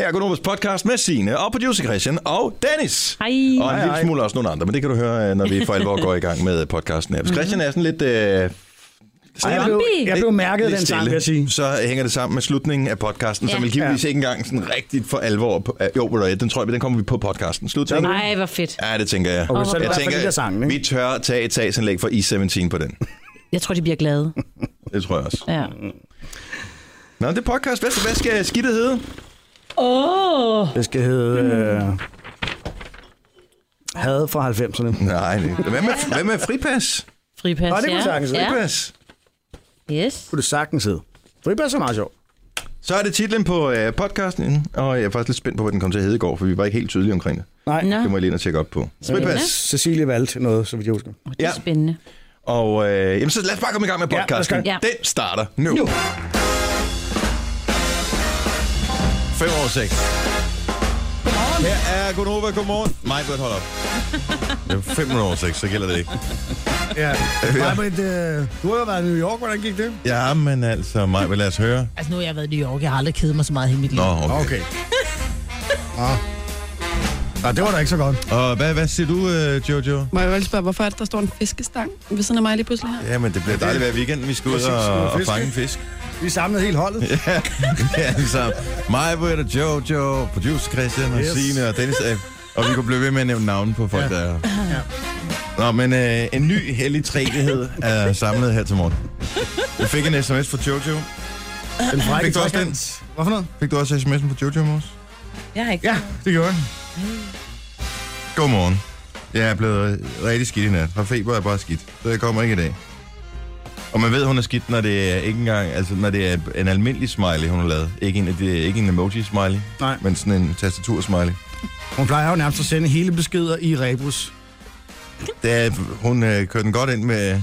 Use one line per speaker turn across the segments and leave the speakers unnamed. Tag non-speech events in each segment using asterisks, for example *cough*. Her er Gunobas podcast med Signe og producer Christian og Dennis.
Hej.
Og en
Hej,
lille
hej.
smule også nogle andre, men det kan du høre, øh, når vi for alvor går i gang med podcasten her. Hvis Christian er sådan lidt... Øh,
Ej, jeg,
stille-
blev, jeg blev mærket af
lidt
den sang,
stille,
vil jeg sige.
Så hænger det sammen med slutningen af podcasten, ja. som
Ja.
vil givetvis ikke engang sådan rigtigt for alvor... På, øh, jo, ved du hvad, den tror jeg, den kommer vi på podcasten. Slut. tænker du?
Nej, hvor fedt.
Ja, det tænker jeg.
Okay, så er det i
jeg
hvert fald lidt af sangen, ikke?
vi tør tage et tagsanlæg for E17 på den.
Jeg tror, de bliver glade.
Det tror jeg også.
Ja.
Nå, det er podcast. Hvad, hvad skal skidtet hedde?
Åh!
Det skal hedde...
Mm.
Øh, had fra 90'erne.
Nej, det Hvad med, hvad med fripas?
Fripas,
Nå, det kunne
ja.
sagtens være.
ja.
Fripas.
Yes.
Kunne det sagtens hedde. Fripas er meget sjov.
Så er det titlen på øh, podcasten, og jeg er faktisk lidt spændt på, hvad den kom til at hedde i går, for vi var ikke helt tydelige omkring det.
Nej,
Nå,
Ah.
Det må jeg lige ind og tjekke op på.
Spændende.
Fripas.
Cecilie valgte noget, så vidt jeg husker.
det er
Ja.
spændende.
Og øh, jamen, så lad os bare komme i gang med
Ja, lad os
podcasten.
gøre
det. Ja.
Den starter nu. nu. 5 over 6. Her er Gunova. Godmorgen. Mig, godt
*laughs*
hold op. Det er 5 over 6, så gælder det ikke.
Ja.
Ja.
Nej, men øh, du har jo været i New York. Hvordan gik det?
Ja, men altså, mig vil lad os høre.
Altså, nu har jeg været i New York. Jeg har aldrig kedet mig så meget i hele mit liv.
Nå, okay. okay.
Nej, Ah. det var da ikke så godt.
Og hvad, hvad siger du, øh, Jojo?
Må jeg jo lige spørge, hvorfor er det, der står en fiskestang ved siden af mig lige pludselig her?
Jamen, det bliver dejligt hver weekend, vi skal ud
Præcis, skal
og,
ud
og
fiske.
fange en fisk.
Vi samlede helt holdet.
Ja, altså, mig, Britt og Jojo, producer Christian og
Yes.
Signe og Dennis. Øh, og vi kunne blive ved med at nævne navne på folk,
Ja.
der er her. Nå, men øh, en ny hellig træenighed er samlet her til morgen. Jeg fik en sms fra Jojo.
Den frække
Fik du også den?
Hvorfor noget?
Fik du også sms'en fra Jojo, Mors?
Jeg har ikke.
Ja,
Det gjorde den. Godmorgen. Jeg er blevet rigtig skidt i nat. Fra feber er bare skidt, så jeg kommer ikke i dag. Og man ved, hun er skidt, når det er ikke engang, altså når det er en almindelig smiley, hun har lavet. Ikke en, det er ikke en emoji-smiley,
Nej.
men sådan en tastatursmiley.
hun plejer jo nærmest at sende hele beskeder i rebus
Det er, hun øh, kører den godt ind med,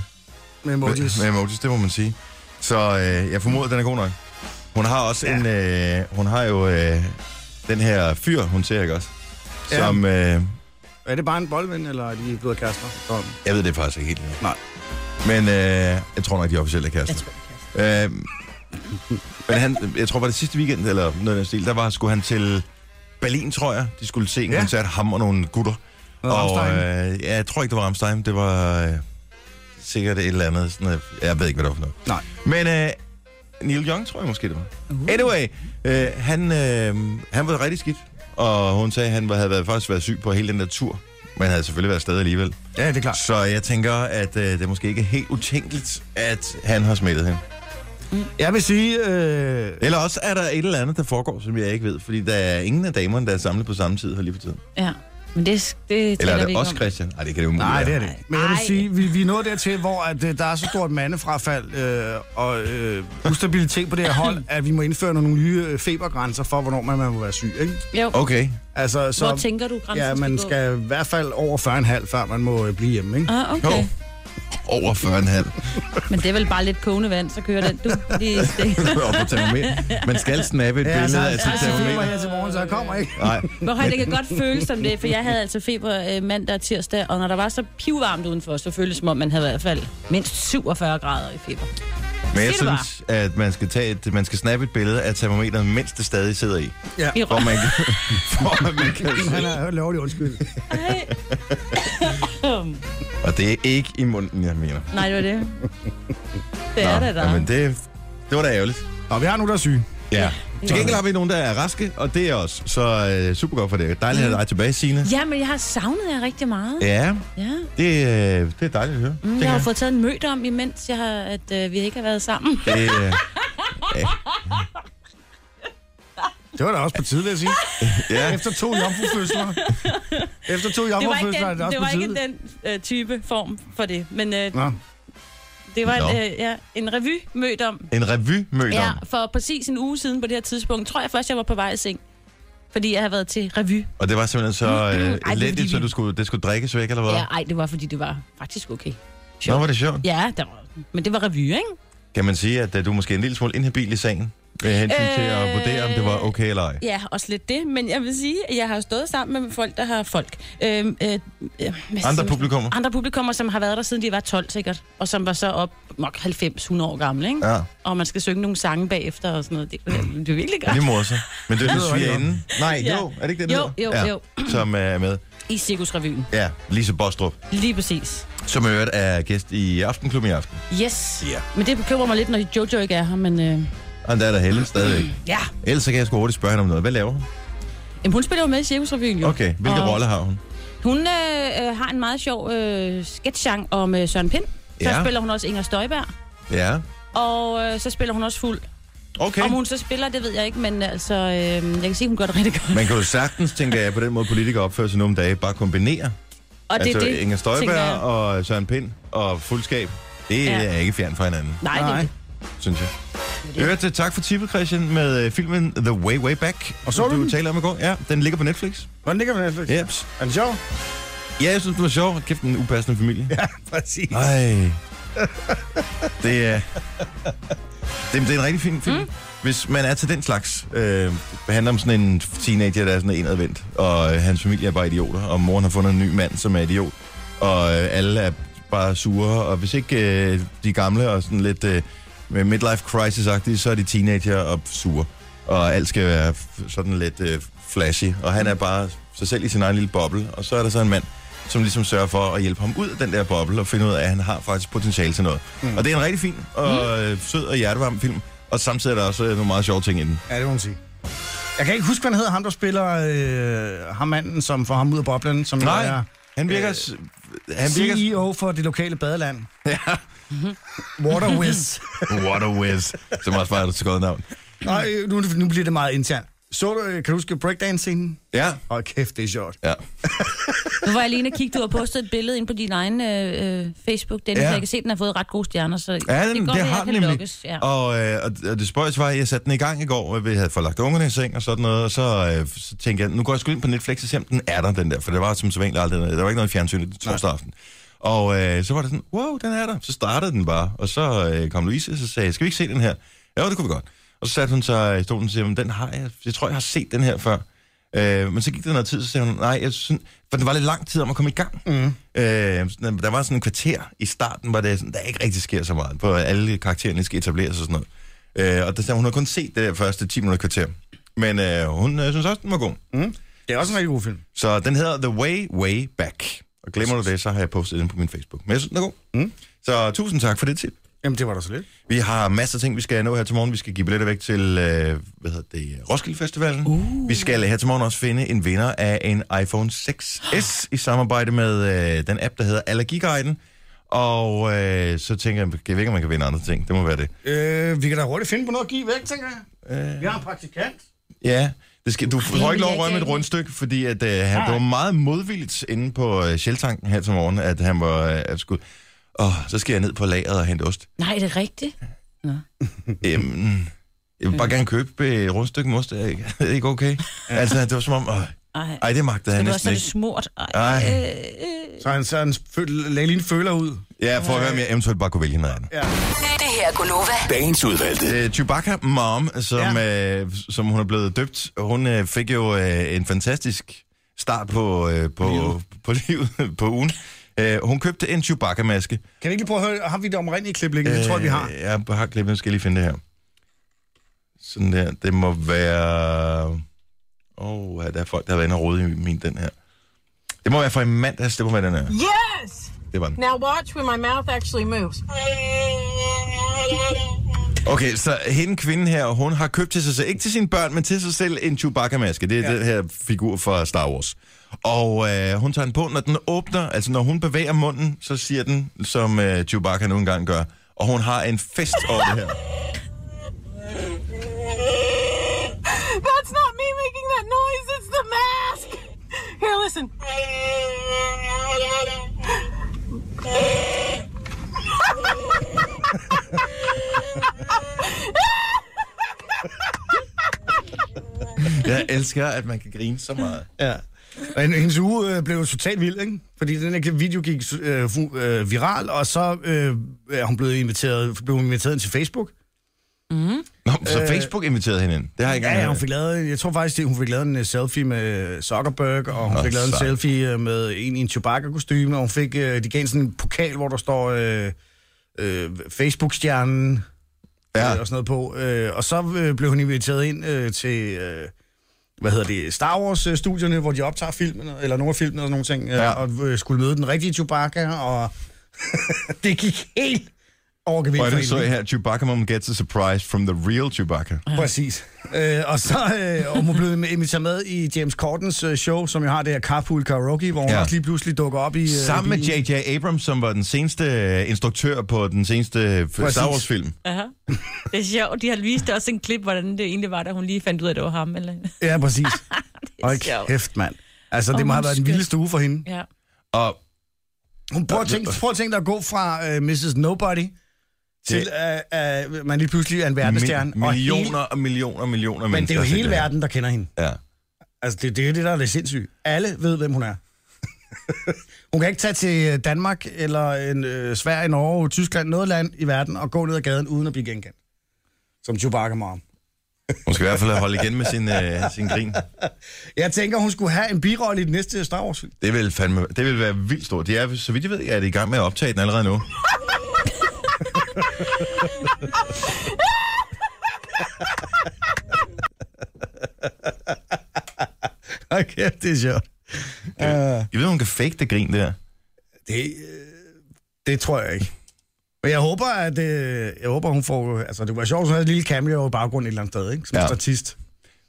med emojis.
Med, med emojis, det må man sige. Så øh, jeg formoder, den er god nok. Hun har også ja. en... Øh, hun har jo øh, den her fyr, hun ser, ikke også?
Ja.
Som... Øh,
Er det bare en boldven, eller er de blevet kærester? Kom.
Jeg ved det faktisk ikke helt endnu.
Nej.
Men øh, jeg tror nok, de er officielle kærester. Jeg tror, øh, men han, jeg tror, var det sidste weekend, eller noget af den stil, der var, skulle han til Berlin, tror jeg. De skulle se en
Ja.
ja. koncert, ham og nogle gutter.
Noget
og
Rammstein.
øh, ja, jeg tror ikke, det var Rammstein. Det var øh, sikkert et eller andet. Sådan, øh, jeg ved ikke, hvad det var for noget.
Nej.
Men
Uh.
øh, Neil Young, tror jeg måske, det var. Anyway, øh, han, øh, han var rigtig skidt. Og hun sagde, at han var- havde været, faktisk været syg på hele den der tur. Men havde selvfølgelig været stadig alligevel.
Ja, det er klart.
Så jeg tænker, at øh, det måske ikke er helt utænkeligt, at han har smittet hende.
Jeg vil sige, øh,
Eller også er der et eller andet, der foregår, som jeg ikke ved. Fordi der er ingen af damerne, der er samlet på samme tid her lige for tiden.
Ja. Men det, det
Eller
taler
er
vi
det
ikke
også
om.
Christian? Nej, det kan det jo umuligt
Nej,
være.
det er det ikke. Men jeg vil
Ej.
sige, vi, vi er nået dertil, hvor at, øh, der er så stort mandefrafald øh, og øh, ustabilitet på det her hold, at vi må indføre nogle nye øh, febergrænser for, hvornår man, man må være syg. Ikke?
Jo.
Okay.
Altså, så,
Hvor tænker du, grænsen
Ja, man
gå?
skal i hvert fald over 40,5, før man må øh, blive hjemme. Ikke?
Ah, okay.
Jo. Over 40,5.
Men det er vel bare lidt kogende vand, så kører den. Du, lige stille.
*laughs* Op på termometer. Man skal snappe et
Ja, så
billede
er
af sit termometer.
her til morgen, så jeg kommer ikke.
Nej.
Hvor højt det kan godt føles som det, for jeg havde altså feber øh, mandag og tirsdag, og når der var så pivvarmt udenfor, så føltes det som om, man havde i hvert fald mindst 47 grader i feber.
Men jeg
Sig det bare.
synes, at man skal, tage et, man skal snappe et billede af termometeret, mens det stadig sidder i.
Ja.
I
For
røven.
man, kan- *laughs* for at man kan se.
Han er lovlig undskyld.
Og det er ikke i munden, jeg mener.
Nej, det var det. Det er det, der.
Nå, men det, det var da ærgerligt.
Og vi har nu der er syge.
Ja. Til gengæld har vi nogen, der er raske, og det er os. Så øh, super godt for det. Dejligt
Mm.
at have dig tilbage, Signe.
Ja, men jeg har savnet jer rigtig meget.
Ja,
Ja.
det, øh, det er dejligt at høre.
Mm,
tænker
jeg har
jeg.
fået taget en mødt om, imens jeg har, at øh, vi ikke har været sammen.
Det, øh,
Det var da også på tide, vil jeg sige.
ja.
Efter to jomfrufødsler. Efter to
Det var ikke
jomfrufødsler er
den,
det også
det
på
var ikke
tide.
den øh, type form for det, men øh,
Nå,
det var
Nå.
en, øh, ja, en revy mødt om.
En revy mødt
Ja,
om.
for præcis en uge siden på det her tidspunkt, tror jeg først, jeg var på vej i seng. Fordi jeg havde været til revy.
Og det var simpelthen så øh, elendigt,
fordi
så
vi-
du skulle, det skulle drikkes væk, eller hvad?
Ja, ej, det var fordi, det var faktisk okay.
Nå, var det sjovt.
Ja, der var, men det var revy, ikke?
Kan man sige, at øh, du er måske en lille smule inhabil i sagen? Med hensyn til at
Øh,
vurdere, om det var okay eller ej.
Ja, også lidt det, men jeg vil sige, at jeg har stået sammen med folk, der har folk. Øhm, øh, øh, hvad siger
Andre
man?
publikummer.
Andre publikummer, som har været der, siden de var 12 sikkert, og som var så op nok 90-100 år gamle, ikke? Ja.
Ja,
Og man skal synge nogle sange bagefter og sådan
*clears throat*
noget. Det, det er virkelig
er
godt.
det morsomt. Men det er det, svigerinde. Nej,
Ja.
jo, er det ikke det, det
Jo, jo,
hedder? *clears throat*
jo.
Som øh, er med.
I Cirkusrevyen.
Ja, Lise Bostrup,
Lige præcis.
som i øvrigt er gæst i Aftenklubben i aften.
Yes. Yeah. Men det bekymrer mig lidt, når Jojo ikke er her, men øh,
Og der er der Helle stadigvæk.
ja.
Ellers så kan jeg sgu hurtigt spørge hende om noget. Hvad laver hun?
Jamen, hun spiller jo med i Cirkusrevyen, jo.
Okay, hvilke
Og-
rolle har hun?
Hun øh, øh, har en meget sjov øh, sketchang om øh, Søren Pind. Så
Ja.
spiller hun også Inger Støjberg.
Ja,
Og øh, så spiller hun også fuld.
okay.
Om hun så spiller, det ved jeg ikke, men altså, øh, jeg kan sige, hun gør det rigtig godt.
Man kan jo sagtens, tænker jeg, på den måde politikere opfører sig nu om dage, bare kombinere.
og det,
altså
er det,
Inger
tænker jeg.
Støjberg og Søren Pind og fuldskab. Det
Ja.
ja. er ikke fjern fra hinanden,
Nej, det er det.
synes jeg. Øvrigt, øh, tak for tippet, Christian, med øh, filmen The Way Way Back.
Og så
som
du
du
den?
taler om i går. Ja, den ligger på Netflix.
Hvordan ligger den her? Felix?
Yep.
Er den sjov?
Ja, jeg synes, det var sjovt. Kæft, en upassende familie.
Ja, præcis.
Nej. Det er... Det, det er en rigtig fin film. Mm. Hvis man er til den slags, øh, det handler om sådan en teenager, der er sådan enadvendt, og øh, hans familie er bare idioter, og moren har fundet en ny mand, som er idiot, og øh, alle er bare sure, og hvis ikke øh, de er gamle og sådan lidt øh, med midlife crisis-agtige, så er de teenager og sure, og alt skal være f- sådan lidt øh, flashy, og han er bare sig selv i sin egen lille boble, og så er der så en mand, som ligesom sørger for at hjælpe ham ud af den der boble og finde ud af, at han har faktisk potentiale til noget. Mm. Og det er en rigtig fin og mm. sød og hjertevarm film, og samtidig er der også øh, nogle meget sjove ting i den.
Ja, det må man sige. Jeg kan ikke huske, hvad han hedder, ham der spiller øh, ham manden, som får ham ud af boblen, som jo
Nej,
er
han virker... Øh, han virker...
CEO for det lokale badeland. Ja.
Mhm. *laughs*
Waterwiz.
What a whiz. Som også var et så godt navn.
Nej, nu, nu bliver det meget internt. Så du, øh, kan du huske breakdance-scenen?
Ja.
Åh, kæft, det er sjovt.
Ja.
Nu var jeg lige inde og kigge, du har postet et billede ind på din egen øh, øh, Facebook, Dennis,
Ja.
ja. jeg kan se, at den har fået ret gode stjerner, så
Ja, den,
det
det,
går,
det
at
har
jeg
den
kan
nemlig.
lukkes. Ja.
Og, øh, og- og det spøjs var, at jeg satte den i gang i går, og vi havde fået lagt ungerne i seng og sådan noget, og så, øh, så tænkte jeg, nu går jeg sgu ind på Netflix og ser, om den er der, den der, for det var som sædvanligt aldrig, noget. der var ikke noget fjernsyn i torsdag aften. Og øh, så var det sådan, wow, den er der. Så startede den bare, og så øh, kom Louise, og så sagde jeg, skal vi ikke se den her? Ja, det kunne vi godt. Og så satte hun sig i stolen og siger, "Men den har jeg, jeg tror, jeg har set den her før. Øh, men så gik der noget tid, så sagde hun, nej, jeg synes, for det var lidt lang tid om at komme i gang. Mm. Øh, sådan, der var sådan en kvarter i starten, hvor det sådan, der ikke rigtig sker så meget, hvor alle karaktererne skal etableres og sådan noget. Øh, og der sagde hun, hun har kun set det der første 10 minutter kvarter. Men øh, hun øh, synes også, den var god.
Det er også en rigtig god film.
Så den hedder The Way, Way Back. Og glemmer du det, så har jeg postet den på min Facebook. Men jeg synes, den er god. Mm. Så tusind tak for det tip.
Jamen, det var da så lidt.
Vi har masser af ting, vi skal nå her til morgen. Vi skal give billetter væk til øh, hvad hedder det, Roskilde Festivalen. Uh. Vi skal her til morgen også finde en vinder af en iPhone 6S i samarbejde med øh, den app, der hedder Allergiguiden. Og øh, så tænker jeg, jeg ved ikke, om man kan vinde andre ting. Det må være det.
Øh, vi kan da hurtigt finde på noget at give væk, tænker jeg. Øh... Vi har en praktikant.
Ja, det skal, du får ikke lov at
jeg
røre med et
kan
rundstykke, fordi at, øh, han, det var meget modvilligt inde på øh, Shell-tanken her til morgen, at han var øh, at skulle... Åh, så skal jeg ned på lageret og hente ost.
Nej, det er rigtigt.
Øhm, jeg vil bare gerne købe øh, et rundstykke med ost. Er ikke- *laughs* er det ikke okay? Altså, det var som om... Øh,
Ej,
ej, det magtede han
det var
næsten
så det
ikke.
smurt. Ej. Øh,
Ej,
Så han, så han føl- lagde lige en føler ud.
ja, for at høre, om jeg eventuelt bare kunne vælge noget andet.
Det her er Gunova.
Dagens udvalgte.
Øh, Chewbacca Mom, som, ja. øh, som hun er blevet døbt, hun øh, fik jo øh, en fantastisk start på, øh, på, livet. på livet, *laughs* på ugen. Øh, hun købte en Chewbacca-maske.
Kan vi ikke lige prøve at høre, har vi det omrindelige klip liggende? Det tror jeg, vi har.
Øh, Jeg har glemt, nu skal jeg lige finde det her. Sådan der, det må være... Åh, oh, der er folk, der har været inde og rode i min, den her. Det må være fra i mandags, det må være den her.
Yes!
Det var den.
Now watch when my mouth actually moves.
Okay, så hende kvinde her, hun har købt til sig selv, ikke til sine børn, men til sig selv en Chewbacca-maske. Det er ja. den her figur fra Star Wars. Og øh, hun tager den på, når den åbner, altså når hun bevæger munden, så siger den, som øh, Chewbacca nogle gange gør. Og hun har en fest over det her.
That's not me making that noise, it's the mask! Here, listen.
Jeg elsker, at man kan grine så meget.
Ja. Og hende- hendes uge øh, blev jo totalt vild, ikke? Fordi den her video gik øh, fu- øh, viral, og så øh, er hun blevet inviteret, blev hun inviteret ind til Facebook. Mm.
Nå, så Facebook inviterede hende ind. Det har jeg ikke
Ja, ja,
engang
hun
hørt.
fik lavet, jeg tror faktisk, det, hun fik lavet en øh, selfie med Zuckerberg, og hun
Nå,
fik lavet en
sejt.
selfie øh, med en i en Chewbacca-kostyme, og hun fik, øh, de gav hende sådan en pokal, hvor der står øh, øh, Facebook-stjernen
Ja.
ja. øh, og sådan noget på. Øh, og så øh, blev hun inviteret ind øh, til, øh, hvad hedder det, Star Wars-studierne, hvor de optager filmen, eller nogle af filmene og sådan nogle ting,
Ja.
ja. og øh, skulle møde den rigtige Chewbacca, og *laughs* det gik helt over gevind
Og
for
det
hende.
så jeg her, Chewbacca mom gets a surprise from the real Chewbacca.
Præcis. Øh, og så øh, og hun blev *laughs* inviteret med i James Cordens øh, show, som jo har det her Carpool Karaoke, hvor hun
Ja.
ja. også lige pludselig dukker op i... Øh,
Sammen med
bilen.
J.J. Abrams, som var den seneste øh, instruktør på den seneste f-
Præcis.
Star Wars-film.
Aha. Det er sjovt. De har vist også en klip, hvordan det egentlig var, da hun lige fandt ud af, at det var ham. Eller...
Ja, præcis.
*laughs*
Hold
sjovt.
kæft, mand. Altså, det
Åh,
må have
hun
været den
skal-
vildeste uge for hende.
Ja.
Og
Hun prøver at tænke, prøv at tænke dig at gå fra øh, Mrs. Nobody til, at øh, øh, man lige pludselig er en verdensstjerne.
mi-
og
millioner
hele-
og millioner og millioner
Men det er jo hele
verden.
verden, der kender hende.
Ja.
Altså, det, det er det, der er lidt sindssygt. Alle ved, hvem hun *laughs* er. hun kan ikke tage til øh, Danmark, eller en, øh, Sverige, Norge, Tyskland, noget land i verden, og gå ned ad gaden, uden at blive genkendt. Som Chewbacca mom.
Hun skal i hvert fald holde igen med sin, øh, sin grin.
Jeg tænker, hun skulle have en birolle i den næste Star Wars film.
Det vil, fandme, det vil være vildt stort. De er, så vidt jeg ved, er de i gang med at optage den allerede
*laughs*
nu.
Okay, det er sjovt.
Jeg ved, hun kan fake det grin der.
Det, øh, det tror jeg ikke. Men jeg håber, at øh, jeg håber, hun får... Altså, det var sjovt, at hun havde et lille cameo i baggrunden et eller andet sted, ikke? Som
Ja.
ja. statist.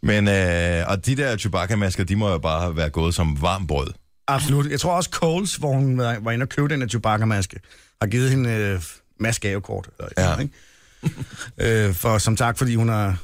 Men, øh, og de der Chewbacca-masker, de må jo bare være gået som varm brød.
Absolut. Jeg tror også, Coles, hvor hun var var inde og købte den her Chewbacca-maske, har givet hende øh, maskegavekort. Eller
Ja.
ja. Noget, ikke? øh, for, som tak, fordi hun har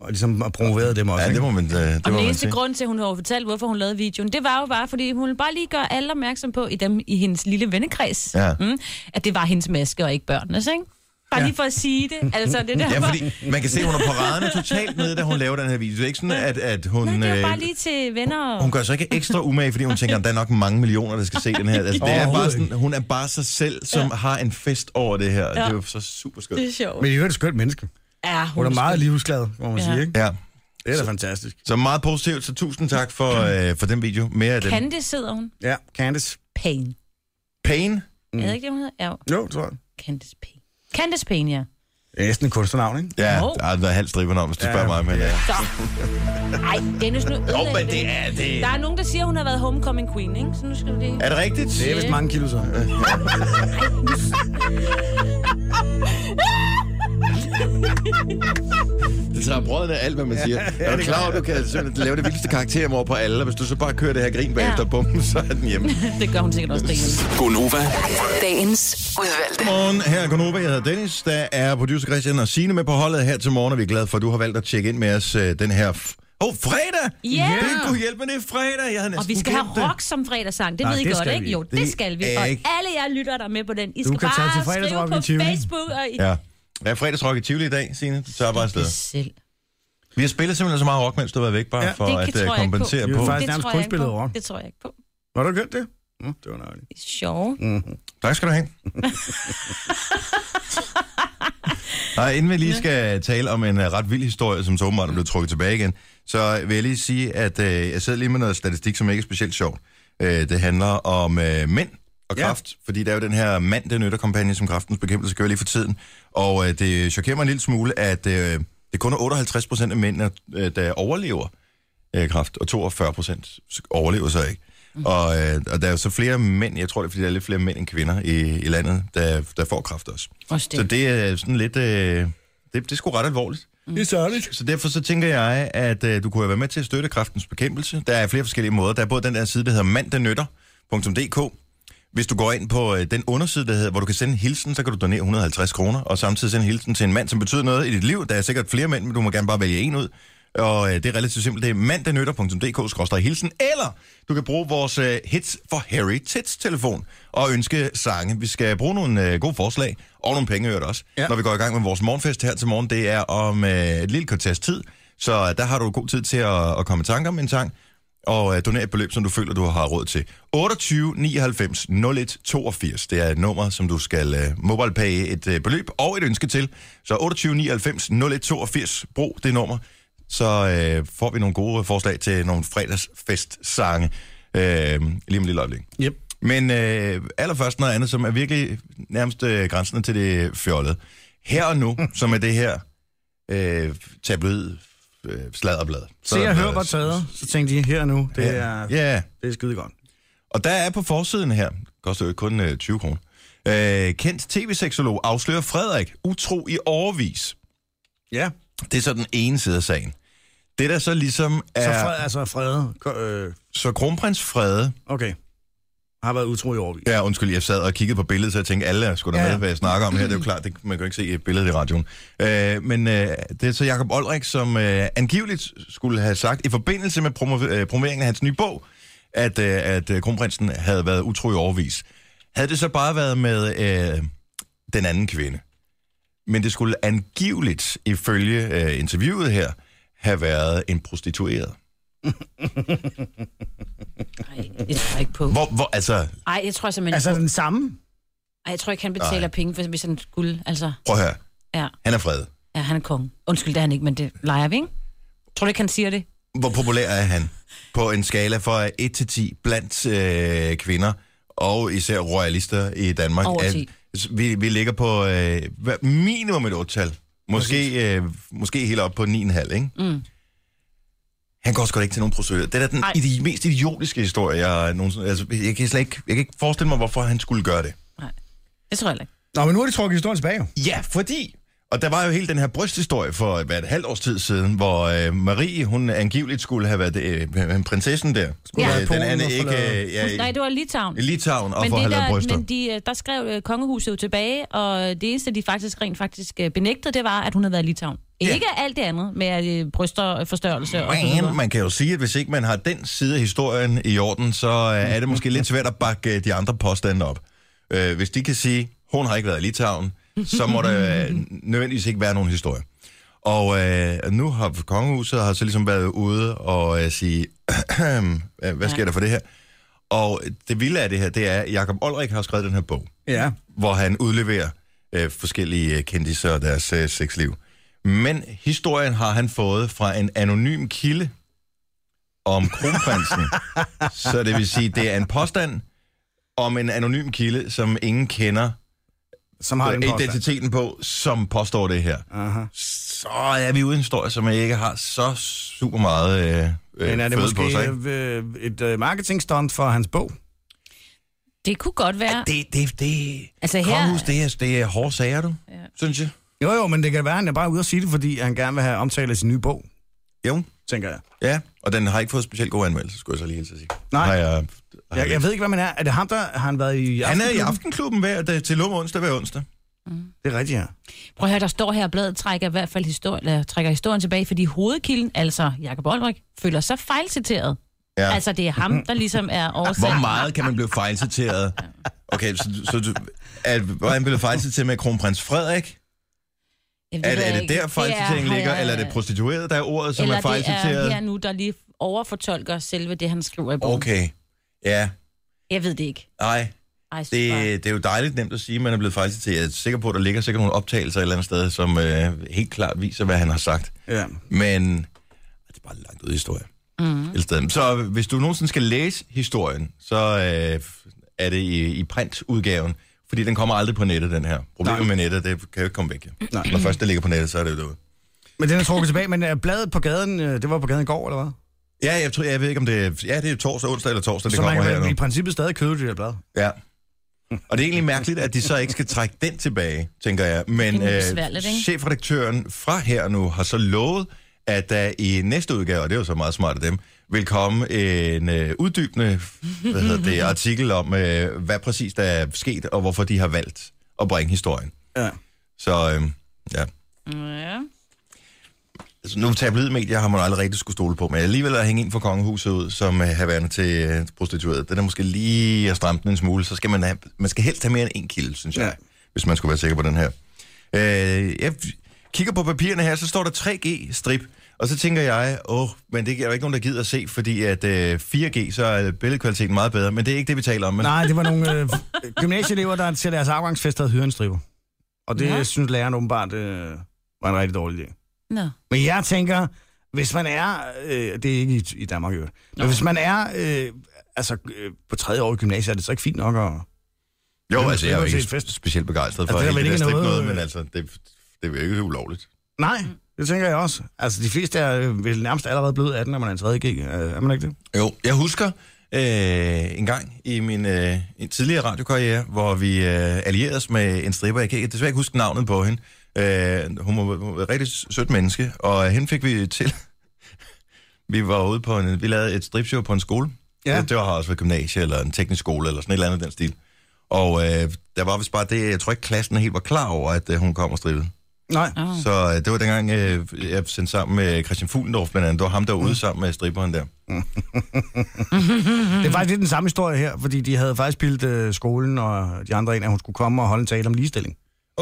og ligesom har promoveret dem også.
Ja, det
ikke?
må man, øh, det
Og
må
den
man
eneste
sige.
grund til, at hun har fortalt, hvorfor hun lavede videoen, det var jo bare, fordi hun ville bare lige gøre alle opmærksom på i, dem, i hendes lille vennekreds,
Ja.
mm, at det var hendes maske og ikke børnenes, ikke? Bare ja. lige for at sige det. Altså, det er derfor...
Ja, fordi man kan se, at hun er på raderne totalt nede, da hun laver den her video. Det er ikke sådan, at, at hun...
Nej, det var
øh,
bare lige til venner og...
Hun gør sig ikke ekstra umage, fordi hun tænker, at der er nok mange millioner, der skal se den her. Altså, det er bare
Overhovedet
sådan, hun er bare sig selv, som ja. har en fest over det her. Ja. Det er jo så super skønt.
Det er sjovt.
Men i øvrigt er et skønt menneske.
Ja,
Hun er meget livsglad, må man
Ja.
ja. sige. Ikke?
Ja.
Det er da fantastisk.
Så meget positivt, så tusind tak for, øh, for den video. Mere af den.
Kante sidder hun.
Ja, Candice.
Pain.
Pain?
Mm. Jeg ved ikke, det, hun hedder. Ja, jo.
Jo, tror jeg.
Candice Pain. Candice Pain, ja.
Det er næsten et kunstnernavn, ikke?
Ja,
Jo.
der har været halv striber om, hvis du
Ja,
spørger mig. Men, øh. ja.
Så. Ej, Dennis, nu ødelægger
men
vi
det er det.
Der er nogen, der siger, hun har været homecoming queen, ikke? Så nu skal du lige...
Er det rigtigt?
Det er vist mange kilo, så.
Det tager brødet af alt, hvad man siger. er du klar over, du kan sådan, lave det vildeste karakter over på alle, og hvis du så bare kører det her grin bagefter, ja. bum, så er den hjemme.
*laughs* Det gør hun sikkert også derhjemme.
Gonova.
Dagens udvalgte.
Godmorgen, her er Gunova, jeg hedder Dennis, der er producer Christian og Signe med på holdet her til morgen, og vi er glade for, at du har valgt at tjekke ind med os øh, den her... f- Åh, oh, fredag!
Ja!
Det kunne hjælpe, det er fredag! Jeg havde næsten
Og vi skal have
glemt det.
rock som fredagssang. Det
Nej,
ved I
det
godt,
skal
ikke?
vi.
Jo, det,
Det
skal vi.
er
Og
ikke-
alle jer lytter der er med på den. I skal
kan tage til
bare skrive
fredagsrocken
på
i Tivoli.
Facebook. Og I...
Ja. Ja, fredagsrock i Tivoli i dag, Signe. Du tager bare afsted.
Selv.
Vi har spillet simpelthen så meget rock, mens du har været væk, bare ja,
Ja.
for
Det
at
tror jeg
øh,
ikke
kompensere
på.
på.
Det er
på.
faktisk-
Det
nærmest
tror,
kun
jeg ikke
spillet
på.
rock.
det tror jeg ikke på.
Har du gjort det? Nå, det var nøjligt.
Det er sjovt.
Tak skal du have. Nej, inden vi lige skal tale om en øh, ret vild historie, som så åbenbart er blevet trukket tilbage igen, så vil jeg lige sige, at øh, jeg sidder lige med noget statistik, som ikke er specielt sjovt. Øh, det handler om øh, mænd og
Ja.
kraft, fordi der er jo den her mand, den nytterkampagne, som kraftens bekæmpelse kører lige for tiden. Og øh, det chokerer mig en lille smule, at øh, det kun er 58 procent af mændene, øh, der overlever øh, kraft, og 42 procent overlever så ikke. Og, øh, og der er jo så flere mænd, jeg tror det er, fordi der er lidt flere mænd end kvinder i, i landet, der, der får kraft også.
Også
Så det er sådan lidt, øh, det, det er sgu ret alvorligt.
Mm. Det er sørgeligt.
Så derfor så tænker jeg, at øh, du kunne jo være med til at støtte kraftens bekæmpelse. Der er flere forskellige måder. Der er både den der side, der hedder manddernytter.dk. Hvis du går ind på øh, den underside, der hedder, hvor du kan sende en hilsen, så kan du donere 150 kroner, og samtidig sende en hilsen til en mand, som betyder noget i dit liv. Der er sikkert flere mænd, men du må gerne bare vælge en ud. Og øh, det er relativt simpelt. Det er manddernytter.dk-hilsen. Eller du kan bruge vores øh, Hits for Harry Tits-telefon og ønske sange. Vi skal bruge nogle øh, gode forslag og nogle penge i øvrigt også, ja.
Ja.
når vi går i gang med vores morgenfest her til morgen. øh, Det er om øh, et lille kvarters tid, så der har du god tid til at, at komme i tanke om en sang. og øh, doner et beløb, som du føler, du har råd til. 28 99 01 82. Det er et nummer, som du skal øh, mobile-paye et øh, beløb og et ønske til. Så 28 99 01 82. Brug det nummer. Så øh, får vi nogle gode forslag til nogle fredagsfestsange øh, lige om et lille øjeblik.
Yep.
Men øh, allerførst noget andet, som er virkelig nærmest øh, grænsen til det fjollede. Her og nu, som er det her øh, tabloid øh, sladderblad.
Se og hør, hvor taget. Så tænkte de, her og nu, det er,
Ja. ja,
det er skide godt.
og der er på forsiden her, koster jo kun øh, 20 kroner, øh, kendt tv-seksolog afslører Frederik utro i overvis.
Ja,
Det er så den ene side af sagen. Det der så ligesom er...
så
Så,
fred, altså frede. Ko- øh,
så kronprins Frede...
Okay. Har været utro i årvis.
Ja, undskyld, jeg sad og kiggede på billedet, så jeg tænkte, alle er sgu da
Ja,
ja.
ja.
med, hvad jeg snakker om her. Det er jo klart, det, man kan jo ikke se billedet i radioen. Øh, men øh, det er så Jakob Olrik, som øh, angiveligt skulle have sagt, i forbindelse med promo- øh, promoveringen af hans nye bog, at, øh, at øh, kronprinsen havde været utro i overvis. Havde det så bare været med øh, den anden kvinde? Men det skulle angiveligt, ifølge øh, interviewet her, have været en prostitueret.
Nej, det tror jeg ikke på.
Hvor, hvor altså,
Nej, jeg tror simpelthen
Altså
altså,
den samme?
Ej, jeg tror ikke, han betaler
Nej.
penge, for, hvis han skulle. Altså,
prøv at høre,
ja,
han er fredet.
ja, han er konge. Undskyld, det er han ikke, men det leger vi, ikke? Tror du ikke, han siger det?
Hvor populær er han på en skala fra 1 til 10 blandt øh, kvinder og især royalister i Danmark?
Over
Er-
10.
s- vi, vi ligger på øh, hva- minimum et 8-tal. Måske, øh, måske helt op på 9,5, ikke?
Mm.
Han går sgu da ikke til nogen procedure. Det er da den
Ej.
i de mest idiotiske historie, jeg nogensinde... Altså, jeg kan slet ikke, jeg kan ikke forestille mig, hvorfor han skulle gøre det.
Det tror jeg heller ikke.
Nå, men nu har de trukket historien tilbage jo.
Ja, fordi... Og der var jo hele den her brysthistorie for hvad, et halvt års tid siden, hvor øh, Marie, hun angiveligt skulle have været øh, prinsessen der. Skulle
Ja.
ja. den
Polen
anden
og få
ikke...
lavet-
Øh, ja,
Ja, Nej, det var Litauen.
i Litauen og
Men,
for at
det
have lavet
der,
bryster.
men de, øh, der skrev øh, kongehuset jo tilbage, og det eneste, de faktisk rent faktisk øh, benægtede, det var, at hun havde været i Litauen.
Ja.
Ikke alt det andet med øh, bryster, øh, forstørrelse og så
Men
videre.
man kan jo sige, at hvis ikke man har den side af historien i orden, så øh, er det måske lidt svært at bakke øh, de andre påstande op. Øh, Hvis de kan sige, hun har ikke været i Litauen, så må der øh, nødvendigvis ikke være nogen historie. Og øh, nu har kongehuset har så ligesom været ude og øh, sige, *clears throat* øh, hvad sker der for det her? Og det vilde af det her, det er, at Jacob Olrik har skrevet den her bog.
Ja.
hvor han udleverer øh, forskellige øh, kendtiser og deres øh, sexliv. Men historien har han fået fra en anonym kilde om
*laughs*
kronprinsen. Så det vil sige, det er en påstand om en anonym kilde, som ingen kender øh,
Som har den påstand.
identiteten på, som påstår det her.
Aha.
Så er vi ude i en historie, som ikke har så super meget øh, øh,
Men er det
føde
måske
på sig. ikke?
øh, et øh, marketingstunt for hans bog?
Det kunne godt være.
Det, det, det,
Altså her,
kongehus, det er, det er hårde sager, du, ja. synes jeg.
Jo, jo, men det kan være, at han er bare ude og sige det, fordi han gerne vil have omtale af sin nye bog,
Jo.
tænker jeg.
Ja, og den har ikke fået specielt god anmeldelse, skulle jeg så lige hilse at sige.
Nej.
Har jeg, har
jeg. Jeg ved ikke, hvad man er. Er det ham, der har han været i
han er i
Aftenklubben?
Aftenklubben hver dag, til lum onsdag hver onsdag.
Det er rigtigt, ja.
prøv at høre, der står her, at bladet trækker i hvert fald historien, eller trækker historien tilbage, fordi hovedkilden, altså Jakob Olrik, føler sig fejlciteret.
Ja. Mhm.
Ja. Altså, det er ham, der ligesom er årsagen.
Hvor meget kan man blive fejlciteret? *laughs* Okay, så, så du, er, hvordan blev du fejlciteret med kronprins Frederik?
Jeg ved
Er, det- er
ikke.
det der fejlciteringen
har
ligger,
jeg-
eller er det prostitueret, der er ordet, som
øh, eller
er
det er
fejlciteret?
her nu, der lige overfortolker selve det, han skriver i bogen.
Okay, ja,
Jeg ved det ikke.
nej.
Ej, det...
Det, det er jo dejligt nemt at sige, at man er blevet fejlciteret. Jeg er sikker på, at der ligger sikkert nogle optagelser et eller andet sted, som øh, helt klart viser, hvad han har sagt.
ja.
Men det er bare en langt ud i historie. Mm. Et sted. Så hvis du nogensinde skal læse historien, så øh, er det i, i printudgaven. Fordi den kommer aldrig på nettet, den her. Problemet med nettet, det kan jo ikke komme væk. Nej. Når først det ligger på nettet, så er det jo derude.
Men den er trukket tilbage, men er bladet på gaden, øh, det var på gaden i går, eller hvad?
Ja, jeg, tror, jeg ved ikke, om det er, ja, det er torsdag, onsdag eller torsdag, det
Så man
kommer her
kan
nu.
vel i princippet stadig købe det der blad.
Ja. Og det er egentlig mærkeligt, at de så ikke skal trække den tilbage, tænker jeg. Men
Det er
øh,
besværligt, ikke?
chefredaktøren fra her nu har så lovet, at der i næste udgave, og det er jo så meget smart af dem, vil komme en øh, uddybende hvad hedder det, artikel om, øh, hvad præcis der er sket, og hvorfor de har valgt at bringe historien.
Ja.
Så øh, ja.
Ja.
Altså, nu tabloidmedier har man aldrig rigtig skulle stole på, men alligevel at hænge ind for kongehuset ud som øh, haverne til øh, prostitueret, den er måske lige at stramme den en smule, så skal man, have, man skal helst have mere end en kilde, synes jeg, ja.
Ja.
hvis man skulle være sikker på den her. Øh, jeg kigger på papirerne her, så står der 3G-strip, Og så tænker jeg, åh, men det er der ikke nogen, der gider at se, fordi at øh, 4G, så er billedkvaliteten meget bedre. Men det er ikke det, vi taler om. Men
Nej, det var nogle øh, gymnasieelever, der til deres afgangsfest havde hyret en striber. Og det ja.
Ja.
synes læreren åbenbart øh, var en rigtig dårlig idé.
Nå.
Men jeg tænker, hvis man er, øh, det er ikke i, i Danmark i øvrigt, men hvis man er øh, altså, øh, på tredje år i gymnasiet, er det så ikke fint nok at...
jo,
Jamen,
altså, jeg er jo
det er
ikke
til et fest.
specielt begejstret for
Altså, det er
altså, det,
vel
det
ikke
der noget,
noget,
noget,
øh,
men altså, det, det er jo ikke ulovligt.
Nej, det tænker jeg også. Altså, de fleste er øh, vel nærmest allerede blevet 18, når man er en tredje G. Øh, Er man ikke det?
Jo, jeg husker øh, en gang i min øh, en tidligere radiokarriere, hvor vi øh, allierede os med en stripper. Jeg kan ikke- desværre ikke huske navnet på hende. Øh, hun var, hun var et rigtig sødt menneske, og hende fik vi til. vi var ude på en, vi lavede et stripshow på en skole. Ja.
Ja.
Det, det var har også været gymnasie eller en teknisk skole eller sådan et eller andet i den stil. Og øh, der var vist bare det, jeg tror ikke klassen helt var klar over, at øh, hun kom og strippede.
Nej.
Oh.
Så øh, det var dengang, øh, jeg sendte sammen med Christian Fuglendorf blandt andet. Det var ham, der var ude sammen med stripperen der.
Det er faktisk lidt den samme historie her, fordi de havde faktisk pillet øh, skolen og de andre ind, at hun skulle komme og holde en tale om ligestilling.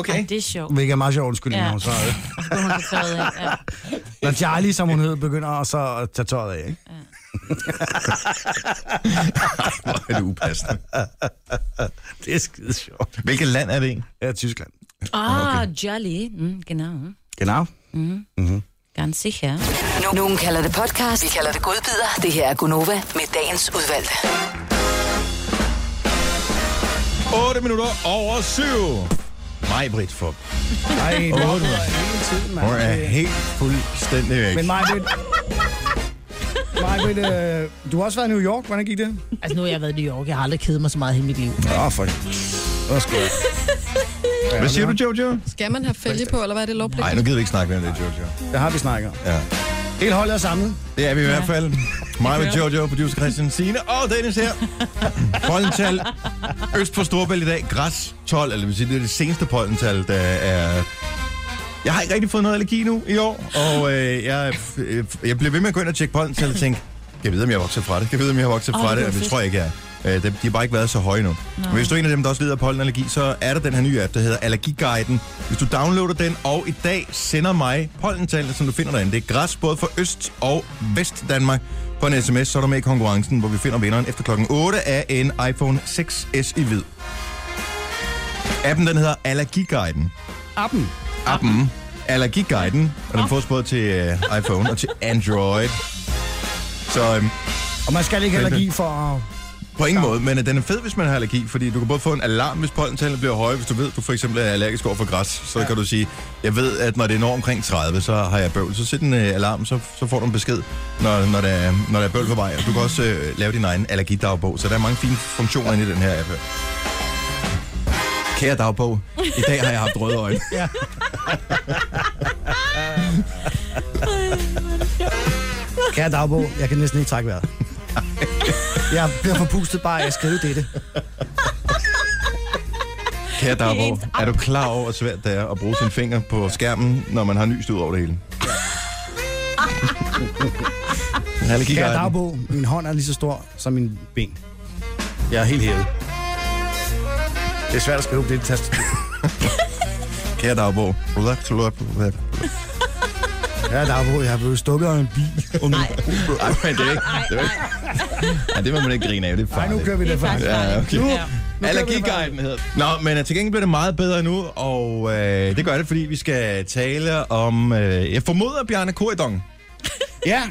Ej, det er sjovt.
Hvilket er meget sjovt, undskyldning,
Ja.
ja. hun så... Øh,
Skulle hun have taget af.
*laughs*
Ja.
når Charlie, som hun hed, begynder at så at tage tøjet af, ikke?
Hvor er det upassende.
Det er skide sjovt.
*laughs* Hvilket land er det egentlig?
Ja, Tyskland.
Ah, jolly. Mm, genau.
Genau.
Ganz sicher.
Nu- Nogen kalder det podcast, vi kalder det godbider. Det her er Gunova med dagens udvalgte.
8 minutter over 7.
Mig, Britt, for
Nej, det er hele tiden, mand. Øh,
hun er helt fuldstændig væk.
Men mig, Britt... Mig, Britt, øh, du har også været i New York. Hvordan gik det?
Altså, nu har jeg været i New York. Jeg har aldrig kedet mig så meget i hele mit liv.
Åh, oh, for... Hvad skal jeg?
Hvad siger du, Jojo?
Skal man have fælge på, eller hvad er det lovpligt?
Nej, nu gider vi ikke snakke mere om det, Jojo.
Det har vi snakket om.
Ja.
Hele holdet er samlet.
Det er vi i hvert fald. Mig med Jojo, producer Christian Sine og Dennis her. Pollental. Øst på Storbælt i dag. Græs 12, eller det vil sige, det er det seneste pollental, der er... Jeg har ikke rigtig fået noget allergi nu i år, og øh, jeg, øh, jeg blev ved med at gå ind og tjekke pollental og tænke, kan jeg vide, om jeg er vokset fra det? Kan jeg vide, om jeg har vokset
Åh,
fra
det
det? Og
kunne være
det
fedt.
tror jeg ikke, jeg er. Øh, det- De har bare ikke været så høje nu. Men hvis du er en af dem, der også lider af pollenallergi, så er der den her nye app, der hedder Allergiguiden. Hvis du downloader den, og i dag sender mig pollentallene, som du finder derinde. Det er græs både for Øst- og Vest-Danmark. På en sms, så er du med i konkurrencen, hvor vi finder vinderen efter klokken 8 af en iPhone 6s i hvid. Appen, den hedder Allergiguiden.
Appen.
Appen Allergiguiden, og den fås både til øh, iPhone og til Android. Så øhm,
Og man skal ikke have allergi for at...
på ingen måde, men øh, den er fed, hvis man har allergi, fordi du kan både få en alarm, hvis pollentallene bliver høje. Hvis du ved, du for eksempel er allergisk over for græs, så kan du sige, jeg ved, at når det når omkring 30, så har jeg bøvl. Så sæt en øh, alarm, så, så får du en besked, når, når, der, er- når der er bøvl på vej. Og du kan også øh, lave din egen allergidagbog, så der er mange fine funktioner inde i den her app. her. Kære dagbog, i dag har jeg haft røde øjne.
Kære dagbog, jeg kan næsten ikke trække *laughs* vejret. Jeg bliver forpustet bare af at skrive dette.
Kære Dagbo,
ens
er du klar over, hvor svært det er at bruge sin finger på skærmen, når man har nyst ud over det hele?
Kære
Allergiguiden.
dagbog, min hånd er lige så stor som min ben. Jeg er helt hævet. Det er svært at skrive på det tast.
Kære Dagbo. Relax, relax, relax.
Ja, der er, jeg er blevet stukket af en bil. Og nu,
Ej, men det er ikke... Det, er ikke. Ej, det må man ikke grine af, det er
Ej, nu
farligt.
kører vi
Det
det
er
for.
faktisk
Ja,
farligt.
okay.
Ja.
Allergiguiden hedder den. Nå, men øh, til gengæld bliver det meget bedre nu, og øh, det gør det, fordi vi skal tale om... Øh, jeg formoder Bjarne Korydong.
Ja.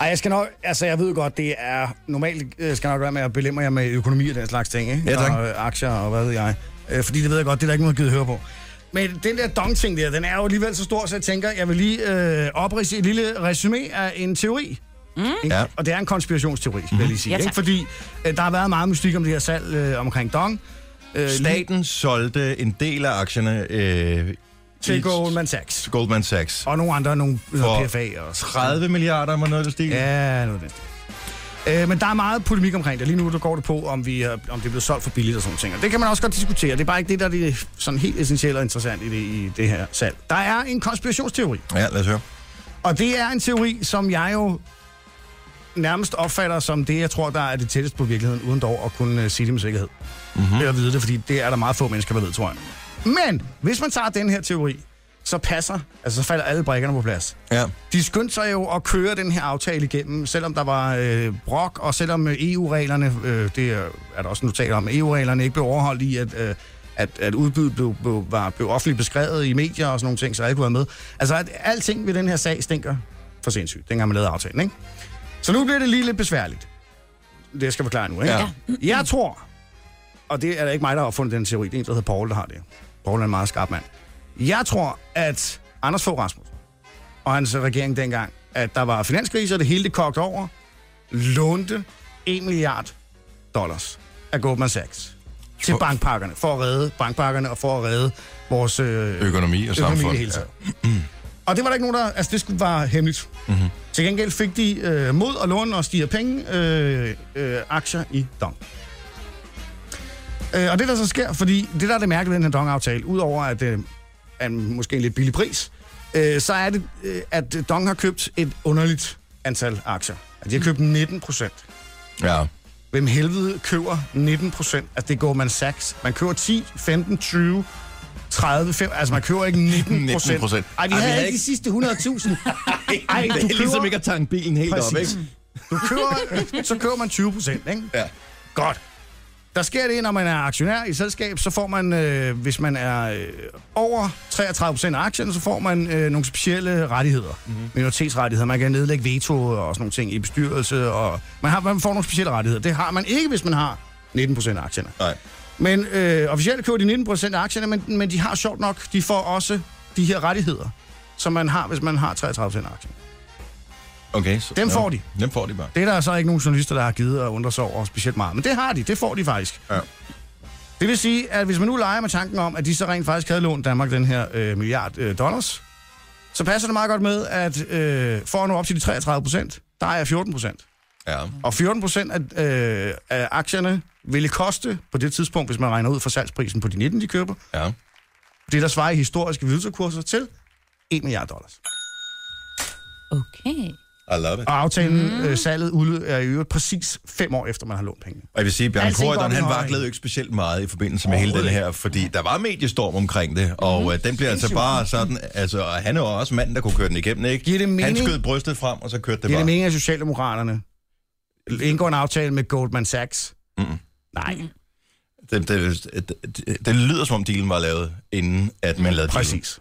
Ej, jeg skal nok, altså jeg ved godt, det er normalt øh, skal jeg nok være med at belemme jer med økonomi og den slags ting, ikke?
Ja, tak.
Og øh, aktier og hvad ved jeg. Øh, fordi det ved jeg godt, det er der ikke noget givet høre på. Men den der dong-ting der, den er jo alligevel så stor, så jeg tænker, jeg vil lige øh, oprise et lille resume af en teori. Mm.
Ja. Mhm.
Og det er en konspirationsteori, mm. vil jeg lige sige.
Ja, tak.
ikke? Fordi øh, der har været meget mystik om det her salg øh, omkring dong. Øh, lige
Staten solgte en del af aktierne øh, i
til Goldman Sachs.
Goldman Sachs.
Og nogle andre, nogle
For
For... PFA og
30 milliarder, var noget af den stil.
Ja, noget af den stil. øh, Men der er meget polemik omkring det. Lige nu der går det på, om, vi, har- om det er blevet solgt for billigt og sådan nogle ting. Og det kan man også godt diskutere. Det er bare ikke det, der er det sådan helt essentielle og interessant i det, i det her salg. Der er en konspirationsteori.
Ja, lad os høre.
Og det er en teori, som jeg jo nærmest opfatter som det, jeg tror, der er det tættest på virkeligheden, uden dog at kunne øh, sige det med sikkerhed. Mm-hmm. Ved at vide det, fordi det er der meget få mennesker, der ved, tror jeg. Men hvis man tager den her teori, så passer, altså så falder alle brækkerne på plads.
Ja.
De skyndte sig jo at køre den her aftale igennem, selvom der var øh, brok, og selvom øh, EU-reglerne, øh, det er, er der også notater om, EU-reglerne ikke blev overholdt i, at, øh, at, at udbuddet blev, blev, var, blev offentligt beskrevet i medier og sådan nogle ting, så alle kunne være med. Altså, at alting ved den her sag stinker for sindssygt, dengang man lavede aftalen, ikke? Så nu bliver det lige lidt besværligt. Det jeg skal forklare nu, ikke?
Ja.
Jeg tror, og det er da ikke mig, der har opfundet den teori, det er en, der hedder Paul, der har det. Paul er en meget skarp mand. Jeg tror, at Anders Fogh Rasmus og hans regering dengang, at der var finanskrise, og det hele det kogte over, lånte 1 milliard dollars af Goldman Sachs til
For-
bankpakkerne, for at redde bankpakkerne og for at redde vores øh,
Økonomi og
økonomi i
samfund.
det hele taget. Og det var der ikke nogen, der... Altså, det skulle være hemmeligt. Mm-hmm. Til gengæld fik de øh, mod at låne og stige penge, øh, øh, aktier i Dong. Øh, og det, der så sker, fordi det, der er det mærkelige ved den her Dong-aftale, udover at det øh, er en- måske en lidt billig pris, øh, så er det, øh, at Dong har købt et underligt antal aktier. At de har købt 19 procent.
Ja.
Hvem helvede køber 19 procent? Altså, det går man Sachs. Man køber 10, 15, 20, 30, 5... Altså, man køber ikke 19 *laughs*
19
procent.
procent.
Ej, vi
Ej, vi
havde
havde
ikke de sidste 100.000.
Ej,
du køber-
at tanke bilen helt
Præcis. Du køber, så køber man 20 procent, ikke?
Ja.
Godt. Der sker det, når man er aktionær i selskab, så får man, øh, hvis man er øh, over 33 procent af aktierne, så får man øh, nogle specielle rettigheder. Mm-hmm. Minoritetsrettigheder. Man kan nedlægge veto og sådan nogle ting i bestyrelse. Og man, har, man får nogle specielle rettigheder. Det har man ikke, hvis man har 19 procent af aktierne.
Nej.
Men øh, officielt køber de 19 procent af aktierne, men, men de har sjovt nok, de får også de her rettigheder, som man har, hvis man har 33 procent af aktierne.
Okay, så,
Dem
Nå.
får de.
Dem får de bare.
Det er der så ikke nogen journalister, der har givet at undre sig over specielt meget. Men det har de. Det får de faktisk.
Ja.
Det vil sige, at hvis man nu leger med tanken om, at de så rent faktisk havde lånt Danmark den her øh, milliard øh, dollars, så passer det meget godt med, at øh, for at nå op til de 33 procent, der er 14 procent.
Ja.
Og 14 procent af, øh, af aktierne ville koste, på det tidspunkt, hvis man regner ud for salgsprisen på de 19, de køber,
Ja.
det der svarer i historiske valutakurser til 1 milliard dollars.
Okay.
I love it.
Og aftalen, mm. øh, salget, udløb er i øvrigt præcis fem år efter, man har lånt pengene.
Og jeg vil sige, at Bjørn
Alting går
Corydon,
op Altså, i
han
højden.
vaklede jo ikke specielt meget i forbindelse med hele den her, fordi der var mediestorm omkring det, og
Mhm.
øh, den bliver altså bare sådan, altså, og han er jo også manden, der kunne køre den igennem, ikke?
Giver det
Han
mening?
skød brystet frem, og så kørte det
Det er det
bare.
meningen, at Socialdemokraterne indgår en aftale med Goldman Sachs. Mm. Nej,
Det, det, det, det, det lyder som om dealen var lavet, inden at man lavede dealen.
præcis.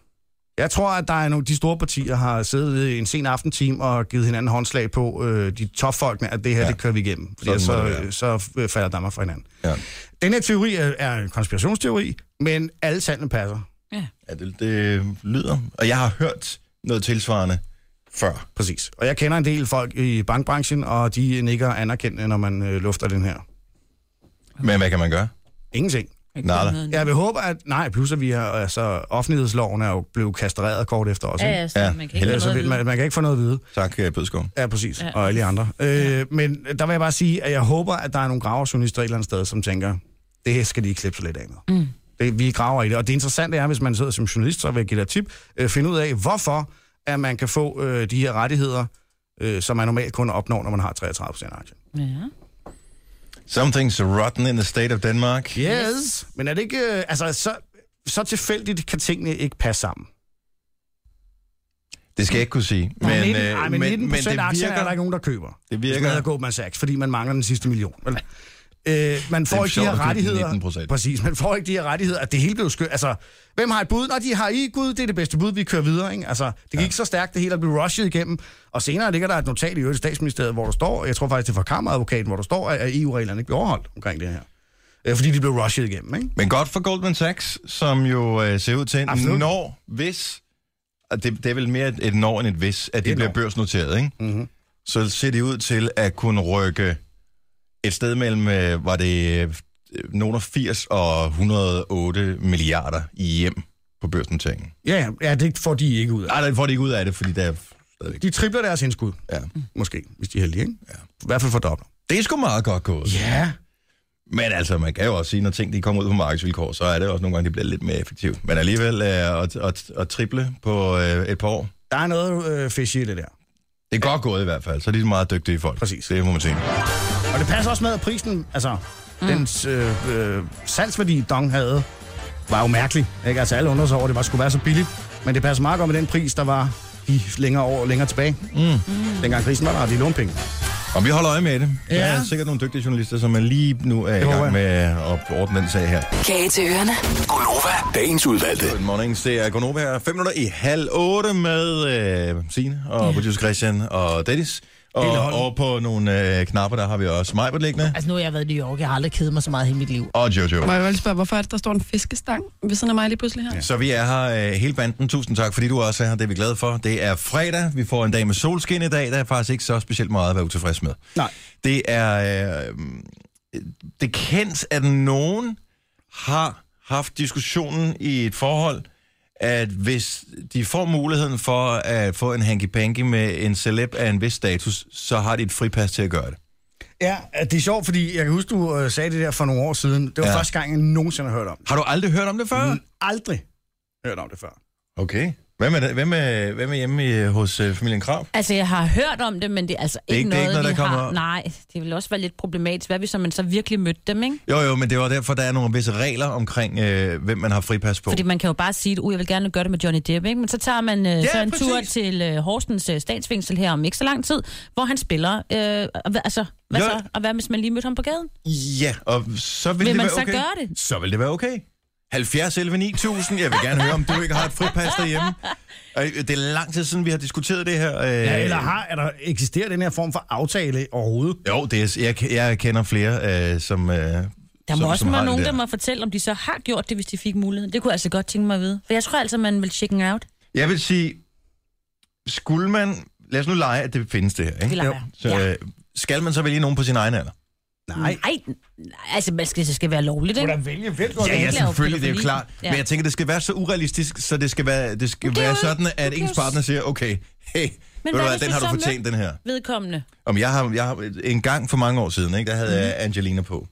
Jeg tror, at der er nogle, de store partier har siddet ved en sen aftentime og givet hinanden håndslag på øh, de topfolkene, at det her, ja. det kører vi igennem. Fordi
Sådan må det
så,
være.
så, øh, falder Danmark fra hinanden.
Ja.
Den her teori er, er en konspirationsteori, men alle tallene passer.
Ja, det, det lyder. Og jeg har hørt noget tilsvarende før.
Præcis. Og jeg kender en del folk i bankbranchen, og de nikker anerkendende, når man øh, lufter den her.
Men hvad kan man gøre?
Ingenting.
Mm.
Nada.
Jeg vil håbe, at... Nej, plus at vi har... Altså, offentlighedsloven er jo blevet kastreret kort efter os.
Ja,
ikke?
ja, så
Ja,
man kan ikke
Ellers så
noget
vil,
vide.
man, man kan ikke få noget at vide.
Tak, øh, Bødskov.
Ja, præcis.
Ja.
Ja. Og alle de andre. Øh, ja. Men der vil jeg bare sige, at jeg håber, at der er nogle graverjournalister et eller andet sted, som tænker, det her skal de ikke klippe så lidt af med. Mm. Det, vi graver i det. Og det interessante er, hvis man sidder som journalist, så vil jeg give dig et tip, øh, finde ud af, hvorfor at man kan få øh, de her rettigheder, øh, som man normalt kun opnår, når man har 33 procent aktie.
Ja.
Something's rotten in the state of Denmark.
Yes. Men er det ikke... Øh, altså, så, så tilfældigt kan tingene ikke passe sammen.
Det skal jeg ikke kunne sige.
Men, men,
øh,
ej, men 19
men det
procent aktier er der
virker,
ikke nogen, der køber.
det
Hvis man havde
virker
gået med Sachs, fordi man mangler den sidste million. Vel? Øh, man får ikke de
sjovt at
her
købe
rettigheder.
19%.
Præcis, man får ikke de her rettigheder. At det hele blev skørt. Altså, hvem har et bud? Når de har I et bud, det er det bedste bud, vi kører videre. Ikke? Altså, det gik ja. så stærkt, det hele blev rushet igennem. Og senere ligger der et notat i øvrigt i statsministeriet, hvor der står, jeg tror faktisk, det er fra kammeradvokaten, hvor der står, at at EU-reglerne ikke bliver overholdt omkring det her. Øh, fordi de blev rushet igennem, ikke?
Men godt for Goldman Sachs, som jo øh, ser ud til,
Absolut.
Absolut. når, hvis, og det, det er vel mere et, et når end et hvis, at
Et
det bliver
når. Mhm.
børsnoteret, ikke? Mm-hmm. Så ser det ud til at kunne rykke et sted mellem, øh, var det øh, nogen af 80 og 108 milliarder i hjem på børsnoteringen.
Ja, ja, ja, det får de ikke ud af.
Nej, der får de ikke ud af det, fordi der er stadigvæk...
De tripler deres indskud,
Ja.
måske, hvis de er heldige, ikke? Ja. I hvert fald fordobler.
Det er sgu meget godt gået.
Ja,
Men altså, man kan jo også sige, når ting de kommer ud på markedsvilkår, så er det også nogle gange, de bliver lidt mere effektivt. Men alligevel øh, at, at, at triple på øh, et par år,
der er noget øh, fishy i det der.
Det er godt gået i hvert fald, så er de meget dygtige folk.
Præcis.
Det må man sige.
Og det passer også med, at prisen, altså, mm. dens øh, øh, salgsværdi, Dong havde, var jo mærkelig. Ikke? Altså, alle undrede sig over, at det var, skulle være så billigt. Men det passer meget godt med den pris, der var i længere år længere tilbage. Mm. Dengang prisen var der, og de lånte penge.
Og vi holder øje med det. Ja. Der er
Ja.
sikkert nogle dygtige journalister, som er lige nu er i
håber
gang
jeg.
med at ordne den sag her.
Kage til ørerne.
Gunova, dagens udvalgte.
Good morning, det er Gunova her. 5 minutter i halv 8 med øh, Signe og ja. producer Christian og Dennis. Og over på nogle øh, knapper, der har vi også mig på liggende.
Altså, nu har jeg været i New York. Jeg har aldrig kedet mig så meget i hele mit liv.
Og Jojo.
Må jeg godt lige spørge, hvorfor er det, der står en fiskestang ved siden af mig lige pludselig her? Ja.
Så vi er her øh, hele banden. Tusind tak, fordi du også er her. Det er vi glade for. Det er fredag. Vi får en dag med solskin i dag. Der er faktisk ikke så specielt meget at være utilfreds med.
Nej.
Det er... Øh, det er kendt, at nogen har haft diskussionen i et forhold, at hvis de får muligheden for at få en hanky-panky med en celeb af en vis status, så har de et fripas til at gøre det.
Ja, det er sjovt, fordi jeg kan huske, du øh, sagde det der for nogle år siden. Det var
Ja.
ja. første gang, jeg nogensinde har hørt om det.
Har du aldrig hørt om det før? Mm.
Aldrig hørt om det før.
Okay. Hvem er, det- hvem er, hvem er hjemme i, hos øh, familien Krav?
Altså, jeg har hørt om det, men det er altså
er
ikke,
ikke- det er ikke
noget,
noget,
vi
der
har.
kommer op.
Nej, det ville også være lidt problematisk. Hvad hvis man så virkelig mødte dem, ikke?
Jo, jo, men det var derfor, der er nogle visse regler omkring, øh, hvem man har fripas på.
Fordi man kan jo bare sige, at uh, jeg vil gerne gøre det med Johnny Depp, ikke? men så tager man øh, så en
præcis.
tur til øh, Horsens øh, statsfængsel her om ikke så lang tid, hvor han spiller. Øh, og hva- altså, hvad
Jo.
så? Og hvad hvis man lige mødte ham på gaden?
Ja, og så vil,
Vil
det
man
være
så
okay.
gøre det?
Så vil det være okay. 70 11 9000. Jeg vil gerne høre, om du ikke har et fripas derhjemme. Og øh, Det er lang tid siden, vi har diskuteret det her. øh.
Ja, eller har, er der eksisterer den her form for aftale overhovedet?
Jo, det er, jeg, jeg kender flere, øh, som... Øh, der
Der må
som,
som, også
som har
være
det
nogen, der må fortælle, om de så har gjort det, hvis de fik muligheden. Det kunne jeg altså godt tænke mig at vide. For jeg tror altså, man vil chicken out.
Jeg vil sige, skulle man... Lad os nu lege, at det findes det her, ikke?
Vi leger.
Så,
Ja.
øh, skal man så vælge nogen på sin egen alder?
Nej. Nej, altså man skal, det skal være lovligt, ikke?
Mm. vælge vel
Ja,
Ja,
ikke lave
selvfølgelig, det er jo
pædofili.
klart. Ja.
Ja.
Men jeg tænker, det skal være så urealistisk, så det skal være, det skal
Men det er
være
jo-
sådan,
du
at
kan
ens
jo s-
partner siger, okay, hey, ved du
hvad
hvad,
hvis
den
det
har du
så er
fortjent, den her.
Vedkommende.
Om jeg har, jeg har en gang for mange år siden, ikke, der havde jeg Angelina på.
Mhm.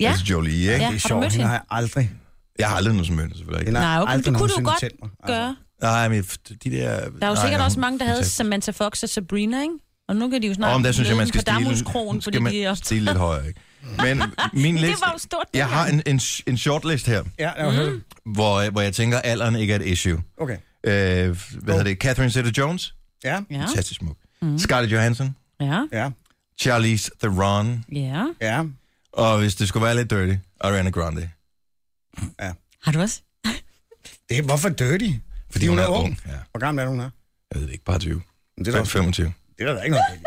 Ja.
Altså Jolie, ikke?
Ja,
Ja.
har
Det er
du
sjovt,
mødt
hende
hende?
har jeg aldrig.
Jeg har aldrig nogen som mødte, selvfølgelig ikke.
hende har
Nej, okay, men
aldrig
det kunne du
nogensinde
godt
tændt mig. Altså,
Gøre.
Nej, men de der...
Der er jo
nej,
sikkert
hun-
også mange, der havde
fantastisk.
Samantha Fox og Sabrina, ikke? Og nu kan de jo snart
Om der synes jeg,
møde
man
dem
skal
på Damhuskronen,
stille,
fordi
skal man
de er...
stille lidt højere, ikke?
*laughs*
Men min
Det
liste...
var jo stort
Jeg har
dengang.
en, en, sh- en shortlist her,
Ja, jeg har hørt det.
Mm.
hvor, hvor jeg tænker, alderen ikke er et issue.
Okay.
Øh, hvad hedder det? Catherine Zeta-Jones?
Ja,
Ja, Mm.
Fantastisk smuk. Scarlett Johansson?
ja,
ja,
Charlize Theron,
ja.
ja.
og hvis det skulle være lidt dirty, Ariana Grande.
Har du også?
Det er, hvorfor dirty?
Fordi hun er ung. Ja,
Hvor gammel er hun her?
jeg ved det ikke, bare 20.
Men Det
Det
er
er
der,
25.
det er der ikke noget galt i.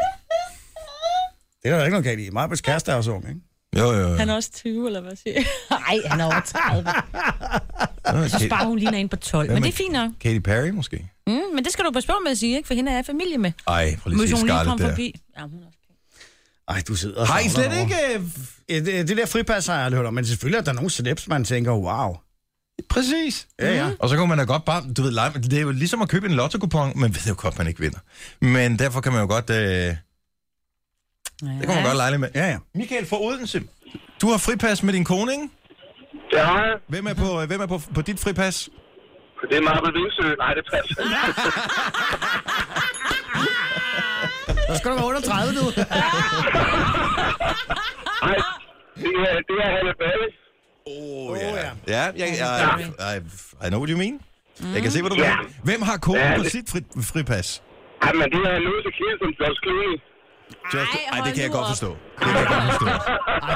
Det er der ikke noget galt i. Majbets kæreste er også ung, ikke?
Jo, jo, jo.
Han er også 20, eller hvad
*laughs*
siger Nej, han er over 30.
Nå,
Så
Ka-
sparer hun lige en på 12. Men det er fint nok.
Katy Perry måske?
Mm, men det skal du passe på med at sige, ikke? For hende er jeg i familie med.
Ej, prøv lige at
Hvis
se
hun lige kom
Scarlett der.
forbi. Ja, hun er også pæn.
Ej, du sidder og
Har I
savner
slet
over.
ikke...
Ja, øh, Det, det der fripas har jeg aldrig hørt om, men selvfølgelig er der nogle celebs, man tænker, wow.
øh, Præcis.
Ja, ja.
Og så kan man da godt bare, du ved, lege, det er jo ligesom at købe en lotto-kupon, man ved jo godt, man ikke vinder. Men derfor kan man jo godt, øh, det
Ja.
kan man godt lege lidt med.
Ja, ja.
Michael fra Odense, du har fripas med din kone, ikke?
Det har jeg.
Hvem er på, hvem er på, på dit fripas?
Det er meget Vingsø. øh, Nej, det passer.
Så skal du være under 30 nu.
Nej, det er, det er Halle Balle.
Åh, oh, ja. Ja, jeg, jeg, I, I know what you mean. Mm. Jeg kan se, hvad du
Ja.
mener. Hvem har koden
Ja,
på
det-
sit fri, fripas?
Jamen, det er Louise Kiel som George Clooney.
Just,
Ej,
ej, det
hold
kan jeg
nu
godt
op.
forstå. Det kan jeg godt forstå.
Ej,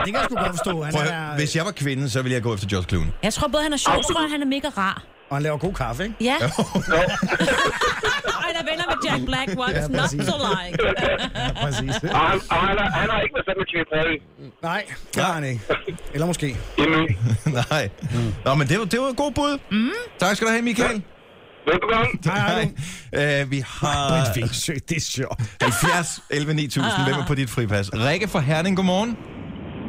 det kan jeg sgu godt forstå. Han
Prøv, at
er,
høre, hvis jeg var kvinde, så ville jeg gå efter George Clooney. *laughs*
Jeg tror både, han er sjov, jeg tror, han er mega rar.
Og han laver god kaffe, ikke?
*laughs*
Ja. *laughs* Og han er venner med Jack Black once, ja, not so like.
Ja, præcis.
Og han, og han, er, han er ikke med sammen med Katy Perry.
Nej, det har han ikke. Eller måske.
Jamen,
Nej. Nå, men det var, det var et godt bud. Mm. Tak skal du have, Michael.
velbekomme.
*laughs* Nej, øh, vi har
På en vingsø, det er sjovt.
70 11 9000. Hvem er på dit fripas? Rikke fra Herning, godmorgen.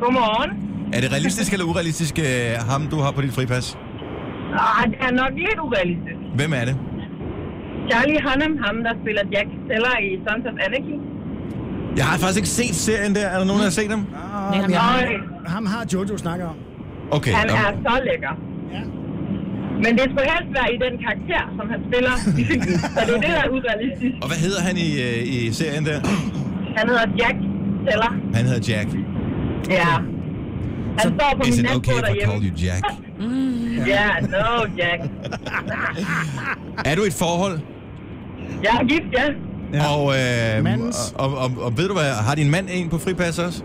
Godmorgen.
Er det realistisk eller urealistisk, øh, ham du har på dit fripas?
Ah, det er nok lidt urealistisk.
Hvem er det?
Charlie Hunnam, ham der spiller Jack Teller i Sons of Anarchy.
Jeg har faktisk ikke set serien der. Er der nogen, der har set dem?
Og øh,
Ham har Jojo snakket om.
Okay.
han
nå.
er så lækker. Men det skulle helst være i den karakter, som han spiller i filmen. Så det er det, der er urealistisk.
Og hvad hedder han i, øh, i serien der? *clears throat*
Han hedder Jack Teller.
Han hedder Jack.
Ja. Han står på
Is
min
it
natbord
okay if I
derhjemme.
call you Jack?
Ja, no, Jack.
Er du i et forhold?
Jeg er gift, ja.
Ja. Og, øh, og, og, og, ved du hvad, har din mand en på fripas også?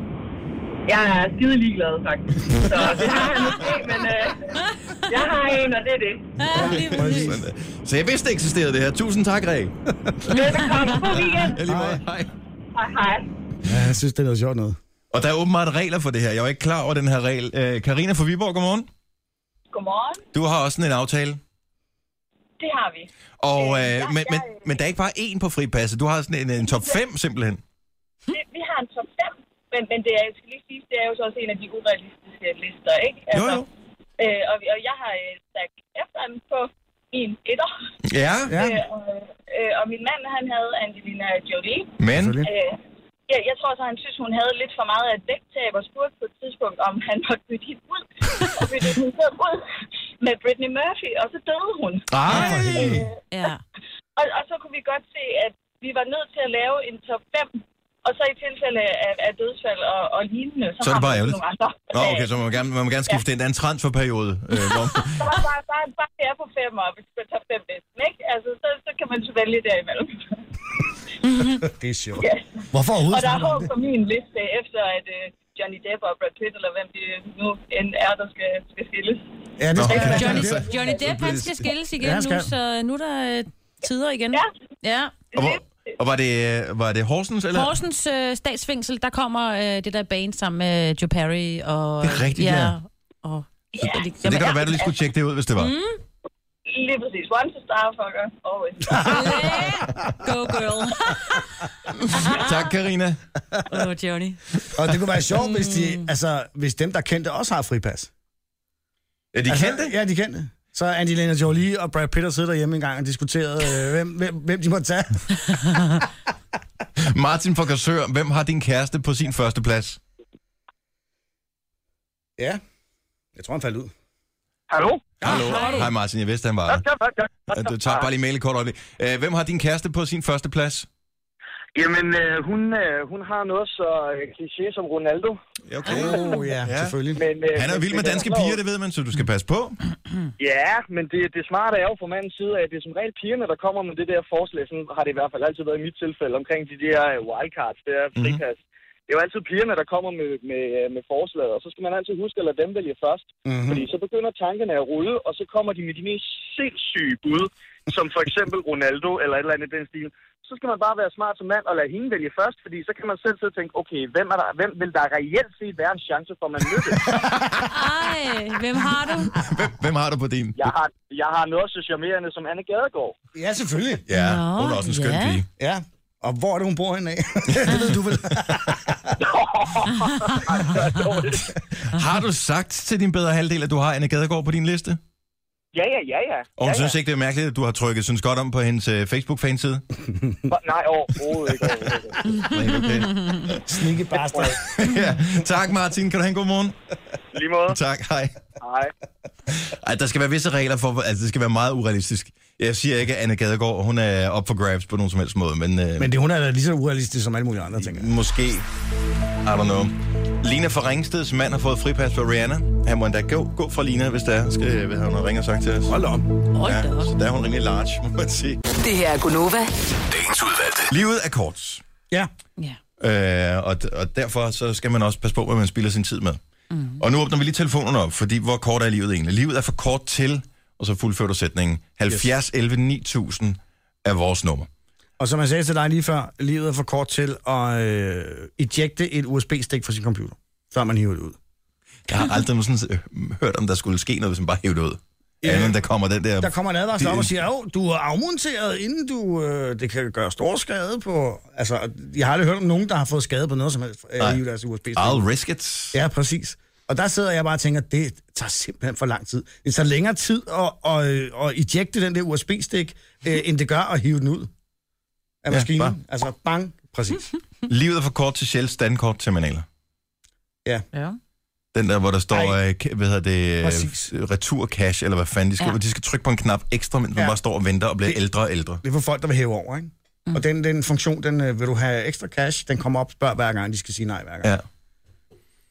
Jeg er skide ligeglad, faktisk. Så det har han måske, men øh, jeg har en, og det
*laughs*
er det.
Sådan, øh. Så jeg vidste, det eksisterede det her. Tusind tak, *laughs* Ræ.
Velkommen på weekend.
Jeg lige måde. Hej.
Hej, hej.
Ja, jeg synes, det er noget sjovt noget.
Og der er åbenbart regler for det her. Jeg var ikke klar over den her regel. Øh, Karina fra Viborg, godmorgen.
Godmorgen.
Du har også sådan en aftale.
Det har vi.
Og, øh, men, men, men der er ikke bare én på fripasset. Du har sådan en, en top 5 simpelthen.
Det, vi har en top 5, men, men det er, jeg skal lige sige, det er jo så også en af de urealistiske lister, ikke?
Jo, jo.
Øh, og, og jeg har øh, sagt efter ham på en etter.
Ja,
Øh, og, øh, og min mand, han havde Angelina Jolie.
men...
Øh, ja, jeg tror så, han synes, hun havde lidt for meget af et vægttab og spurgte på et tidspunkt, om han måtte bytte hende
*laughs*
ud. og bytte hun så ud med Britney Murphy, og så døde hun.
Ej!
Ja.
Og, og så kunne vi godt se, at vi var nødt til at lave en top 5, og så i tilfælde af, af dødsfald og, og lignende, så,
Så er det
har
bare
man
ærgerligt.
nogle andre.
Nå, okay, så må man gerne, man må gerne skifte ja. ind. Der er en transferperiode. Øh, *laughs* hvor...
Så bare, bare, bare, bare det er på 5 og hvis man top 5 listen, ikke? Altså, så, så kan man så vælge
*laughs*
derimellem.
Det er sjovt.
Ja.
Hvorfor
Og
overhovedet
der er
snakke om
håb
det?
på min liste, efter at uh, Johnny Depp og Brad Pitt, eller hvem det nu end er, der skal, skal skilles.
Ja, det skal
Nå,
jeg.
Johnny,
Så-
Johnny Depp,
så
han
bliver Altså,
skal
det-
skilles igen
Ja, han
nu,
skal.
så nu er der øh, tider
Mm.
igen.
Ja.
Ja.
Og, hvor, og var det, øh, var det Horsens, eller?
Horsens øh, statsfængsel, der kommer øh, det der band sammen med øh, Joe Perry og...
Det er rigtigt, ja.
Og,
Ja, yeah.
Så det kan da være, du lige skulle tjekke det ud, hvis det var. Mm.
lige præcis. Once a starfucker, always.
Go
*laughs*
girl.
Tak, Karina.
Åh, oh, Johnny.
Og det kunne være sjovt, hvis, de, altså, hvis dem, der kendte, også har fripas.
Ja, de
Altså,
kendte.
Ja, de kendte. Så Angelina Jolie og Brad Pitt har siddet derhjemme en gang og diskuteret, øh, hvem, hvem, hvem de må tage.
Martin fra Korsør, hvem har din kæreste på sin første plads?
Ja. Jeg tror, han faldt ud.
Hallo?
Hallo. Hej Martin, jeg vidste, han var der. Du tager bare lige mail kort øjeblik. Øh, Hvem har din kæreste på sin første plads?
Jamen, øh, hun, øh, hun har noget så øh, kliché som Ronaldo.
Okay.
Oh, ja,
Ja.
ja. selvfølgelig.
Men, øh,
Han er
men-
vild med
men
danske
jeg tror-
piger, det ved man, så du skal passe på.
Ja, men det, det smarte er jo fra mandens side, at det er som regel pigerne, der kommer med det der forslag. Sådan har det i hvert fald altid været i mit tilfælde omkring de der øh, wildcards, der
Mhm.
frikas. Mm-hmm. Det er jo altid pigerne, der kommer med, med, øh, med forslaget, og så skal man altid huske at lade dem vælge først. Mm-hmm.
Mhm.
Fordi så begynder tankerne at rulle, og så kommer de med de mest sindssyge bud, som for eksempel Ronaldo eller et eller andet i den stil. Så skal man bare være smart som mand og lade hende vælge først, fordi så kan man selv sidde og tænke, okay, hvem, er der, hvem vil der reelt set være en chance for, at man mødte?
Ej, hvem har du?
Hvem, hvem har du på din?
jeg, har, jeg har noget så charmerende som Anne Gadegaard.
Ja, selvfølgelig.
Ja,
Nå,
hun er også en skøn
ja.
pige.
Ja. Og hvor er det, hun bor henne af? *laughs* det ved du vel.
Har du sagt til din bedre halvdel, at du har Anne Gadegaard på din liste?
Ja, ja, ja, ja.
Og hun
ja,
ja, synes
ja.
ikke, det er mærkeligt, at du har trykket synes godt om på hendes øh, Facebook-fanside?
Nej, overhovedet ikke. Overhovedet ikke.
Okay.
Snikke bastard.
ja. Tak, Martin. Kan du have en god morgen?
Lige måde.
Tak, hej.
Hej.
Ej, der skal være visse regler for, hvor- altså det skal være meget urealistisk. Jeg siger ikke, at Anne Gadegaard, hun er op for grabs på nogen som helst måde, men, øh,
Men
men
det, hun er da lige så urealistisk som alle mulige andre, tænker jeg.
måske, I don't know. Lina fra Ringsteds mand har fået fripas for Rihanna. Han må endda gå, gå fra Lina, hvis der er, skal, hvad har hun ringe og sagt til os. Hold op.
Hold
Ja,
da op.
så der er hun rimelig large, må man sige.
Det her er Gunova.
Dagens udvalgte.
Livet er kort,
Ja.
Ja.
øh, og, og derfor så skal man også passe på, hvad man spilder sin tid med. Mm. Og nu åbner vi lige telefonerne op, fordi hvor kort er livet egentlig? Livet er for kort til, og så fuldfører du sætningen, 70 11 9000 er vores nummer.
Og som jeg sagde til dig lige før, livet er for kort til at øh, ejecte et USB-stik fra sin computer, før man hiver det ud.
Jeg har aldrig nogen sådan, øh, hørt, om der skulle ske noget, hvis man bare hævde det ud. Ja.
Ja.
Andet, end der kommer den der...
Der kommer en advarsel
Det-
op og siger, at du er afmonteret, inden du... Øh, det kan gøre stor skade på... Altså, jeg har aldrig hørt om nogen, der har fået skade på noget som helst øh,
Nej.
i deres USB-stik.
I'll risk it.
Ja, præcis. Og der sidder jeg bare og tænker, det tager simpelthen for lang tid. Det tager længere tid at, at, at ejecte den der USB-stik, øh, end det gør at hive den ud af
Ja,
maskinen.
bare-
altså, bang, præcis.
Livet er for kort til Shell standkort terminaler.
ja.
Den der, hvor der står,
Ej.
øh, ka- hvad hedder det,
Præcis.
øh, retur cash, eller hvad fanden de skal. Ja.
Ja.
De skal trykke på en knap ekstra, mens man
Ja.
bare står og venter og bliver
Det-
ældre og ældre.
Det er for folk, der vil hæve over, ikke? Mm. Og den, den funktion, den øh, vil du have ekstra cash, den kommer op og spørger hver gang, de skal sige nej hver gang.
Ja.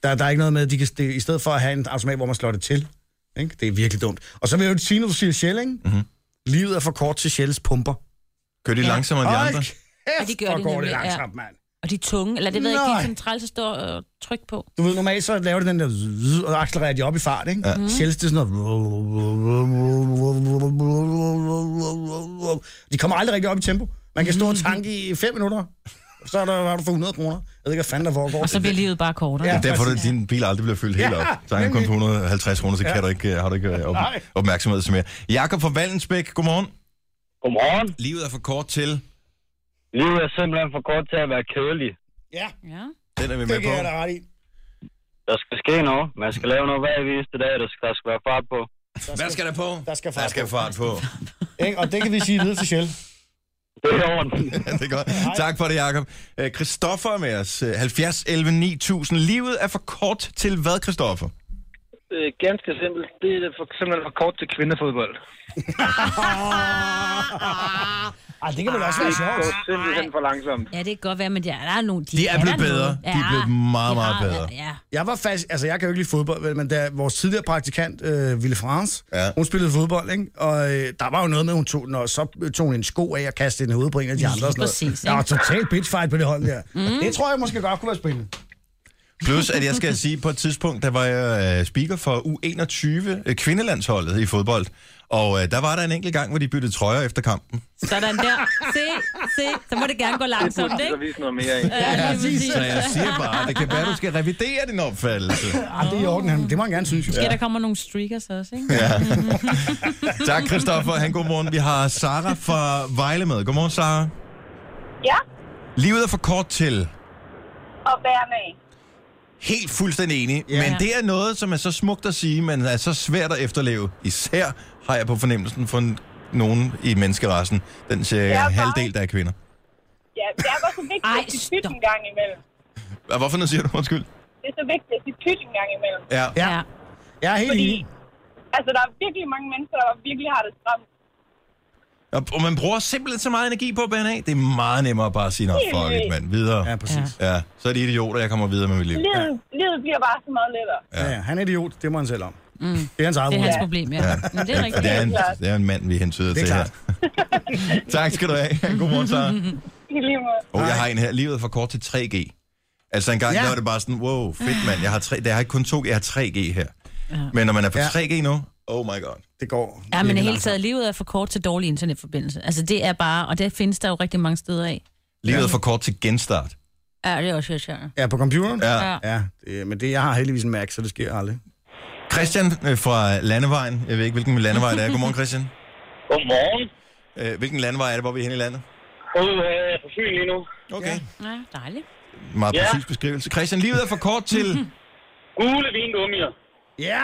Der, der er ikke noget med, at de kan, det, i stedet for at have en automat, hvor man slår det til. Ikke? Det er virkelig dumt. Og så vil jeg jo sige, når du siger Shell, ikke?
Mhm.
Mm-hmm. Livet er for kort til Shells pumper.
Kører de langsommere end de
Hold
andre?
Kæft,
Ja, de gør
hvor
det
går det
nemlig, ja.
langsomt, mand.
Og de er tunge, eller det ved jeg ikke, de
Nej.
er sådan træls at stå og trykke på.
Du ved, normalt så laver det den der zzz, og accelererer de op i fart, ikke? Ja. Shells, det er sådan noget... De kommer aldrig rigtig op i tempo. Man kan stå og tanke i 5 minutter, så er der, har du fået 100 kroner. Jeg ved ikke, hvad fanden der
*laughs*
foregår.
Og så bliver livet bare kortere.
Altså, Det er
Ja.
derfor, at din bil aldrig bliver fyldt helt
Ja,
op. Så er han kun
nemlig.
på 150 kroner, så kan du ikke, øh, har du ikke øh, op,
Nej.
opmærksomhed til mere. Jakob fra Valensbæk, godmorgen.
Godmorgen.
Livet er for kort til.
Livet er simpelthen for kort til at være kedelig.
Ja,
ja.
Den er vi med
det kan jeg da
på.
ret i.
Der skal ske noget. Man skal lave noget hver eneste dag, der skal, der skal være fart på.
Hvad skal der på?
Der skal fart
Der skal
på.
fart
*laughs*
på.
Ikke? Og det kan vi sige videre til Shell.
Det er i orden.
Ja, det er godt. Tak for det, Jacob. Øh, Christoffer er med os. Øh, 70 11 9000. Livet er for kort til hvad, Christoffer?
*laughs* Øh, ganske simpelt. Det er for, simpelthen for kort til kvindefodbold.
Ej, det kan vel også være sjovt.
går er simpelthen for langsomt.
ja, det kan godt være, men der er, der er nogle...
De er
kan
blevet
da
bedre.
noget.
De er blevet meget,
de
meget
har-
bedre.
Ja.
Jeg var faktisk, altså jeg kan jo ikke lide fodbold, vel, men da vores tidligere praktikant, øh, Ville France,
Ja.
ja. hun spillede fodbold, ikke? og øh, der var jo noget med, hun tog, når så tog hun en sko af og kastede den i hovedet på en af de andre. Og sådan noget.
præcis,
der var totalt bitchfight på det hold der. Mm. Det tror jeg måske godt kunne være spændende.
Plus, at jeg skal sige, på et tidspunkt, der var jeg øh, speaker for U21 øh, kvindelandsholdet i fodbold. Og øh, der var der en enkelt gang, hvor de byttede trøjer efter kampen.
Sådan der. Se, se. Så må det gerne gå langsomt,
Så
ikke?
vise noget mere ind.
Ja, lige præcis.
Så jeg siger bare, det kan være, du skal revidere din opfattelse.
Ej, Ah, det er i orden, han- det må han gerne synes.
Ja,
Ja.
der kommer nogle streakers også, ikke?
Tak, Christoffer. Han, godmorgen. Vi har Sara fra Vejle med. Godmorgen, Sara.
Ja,
Livet er for kort til.
og bære med.
Helt fuldstændig enig. Ja. Men det er noget, som er så smukt at sige, men er så svært at efterleve. Især har jeg på fornemmelsen for n- nogen i menneskerassen. Den cirka
Ja,
ja,
bare-
halvdel, der er kvinder.
Ja, det er bare så vigtigt,
Ej,
at de pyt
stop.
en gang imellem.
Hvad- Hvorfor noget siger du? Undskyld.
Det er så vigtigt, at de pyt en gang imellem.
Ja.
Ja. Jeg er helt
Fordi,
enig.
altså, der er virkelig mange mennesker, der virkelig har det stramt.
Og, og man bruger simpelthen så meget energi på at bære af. Det er meget nemmere bare at sige, nej, fuck it, mand. Videre.
Ja, præcis.
Ja, så er de idioter, jeg kommer videre med mit liv.
Livet, livet bliver bare så meget lettere.
Ja. Ja, han er idiot, det må han selv om. Mm. Det er hans eget
Det er
problem.
hans problem, ja. Men det er rigtigt.
Det er en, det er en mand, vi hentyder
Det er
til her. *laughs* tak skal du have. Godmorgen,
*laughs*
Sara.
I lige måde.
Og jeg har en her. Livet er for kort til 3G. Altså en gang, ja.
Ja.
der var det bare sådan, wow, fedt mand, jeg har, tre, jeg har ikke kun 2G, jeg har 3G her. Ja. Men når man er på
Ja.
3G nu, oh my god.
Det går
Ja, men i
virkelig
hele
langt.
taget, livet er for kort til dårlig internetforbindelse. Altså, det er bare, og det findes der jo rigtig mange steder af.
Livet er for kort til genstart.
Ja, det er også irriterende.
Ja, på computeren?
Ja.
Ja.
ja det, men det, jeg har heldigvis en Mac, så det sker aldrig.
Christian øh, fra Landevejen. Jeg ved ikke, hvilken landevej det er. Godmorgen, Christian.
*laughs*
Godmorgen.
Øh, Hvilken landevej er det, hvor vi er henne i landet?
Ude øh, på Fyn lige nu.
Okay. Ja.
Ja, dejligt.
Meget
Ja.
præcis beskrivelse. Christian, livet er for kort
*laughs*
til...
Gule vingummier.
Ja!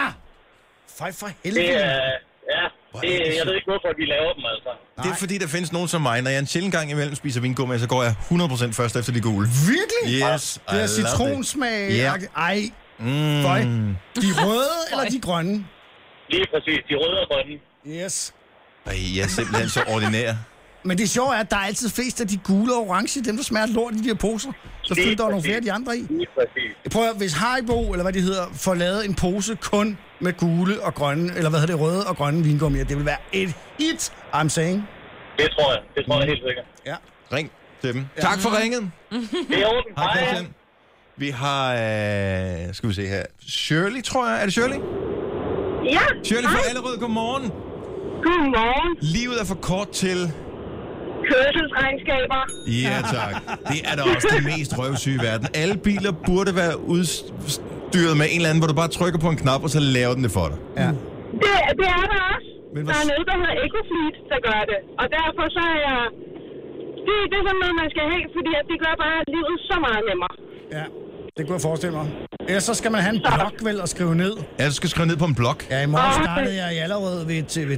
Fej for
Det
helvede.
er... Ja, det,
Hvor er det
jeg ved ikke, hvorfor de laver dem, altså.
Det er fordi, der findes nogen som mig. Når jeg en sjældent gang imellem spiser vingummi, så går jeg 100% først efter de gule.
Virkelig?
Yes, I
Det er
love it.
citronsmag.
Ja.
Ej,
Mm.
føj. De røde eller de grønne?
Lige præcis. De røde og grønne.
Yes.
Ej, jeg er simpelthen så ordinær.
Men det sjove er, at der er altid flest af de gule og orange, dem der smager lort i de her poser. Så
Lige
fylder der er nogle
præcis.
flere af de andre i.
Lige præcis.
Prøv at, høre, hvis Haribo, eller hvad det hedder, får lavet en pose kun med gule og grønne, eller hvad hedder det, røde og grønne vingummier, det vil være et hit, I'm saying.
Det tror jeg. Det tror jeg helt sikkert.
Ja.
Ring til dem. Tak for ringet.
Det er i orden.
Mm. Hej Christian. Vi har, øh, skal vi se her, Shirley, tror jeg. Er det Shirley?
Ja,
Shirley fra Allerød, godmorgen.
godmorgen.
Livet er for kort til...
Kørselsregnskaber.
Ja, tak. Det er da også det mest røvsyge i verden. Alle biler burde være udstyret med en eller anden, hvor du bare trykker på en knap, og så laver den det for dig.
ja.
Det, det er der også.
Men hvor-
Der er noget, der hedder EcoFleet, der gør det. Og derfor så er jeg... Det, det er sådan noget, man skal have, fordi at det gør bare livet så meget nemmere.
Ja, det kunne jeg forestille mig. Ellers så skal man have en blok vel og skrive ned.
Ja, du skal skrive ned på en blok.
Ja, i morgen startede jeg i allerede ved, til- ved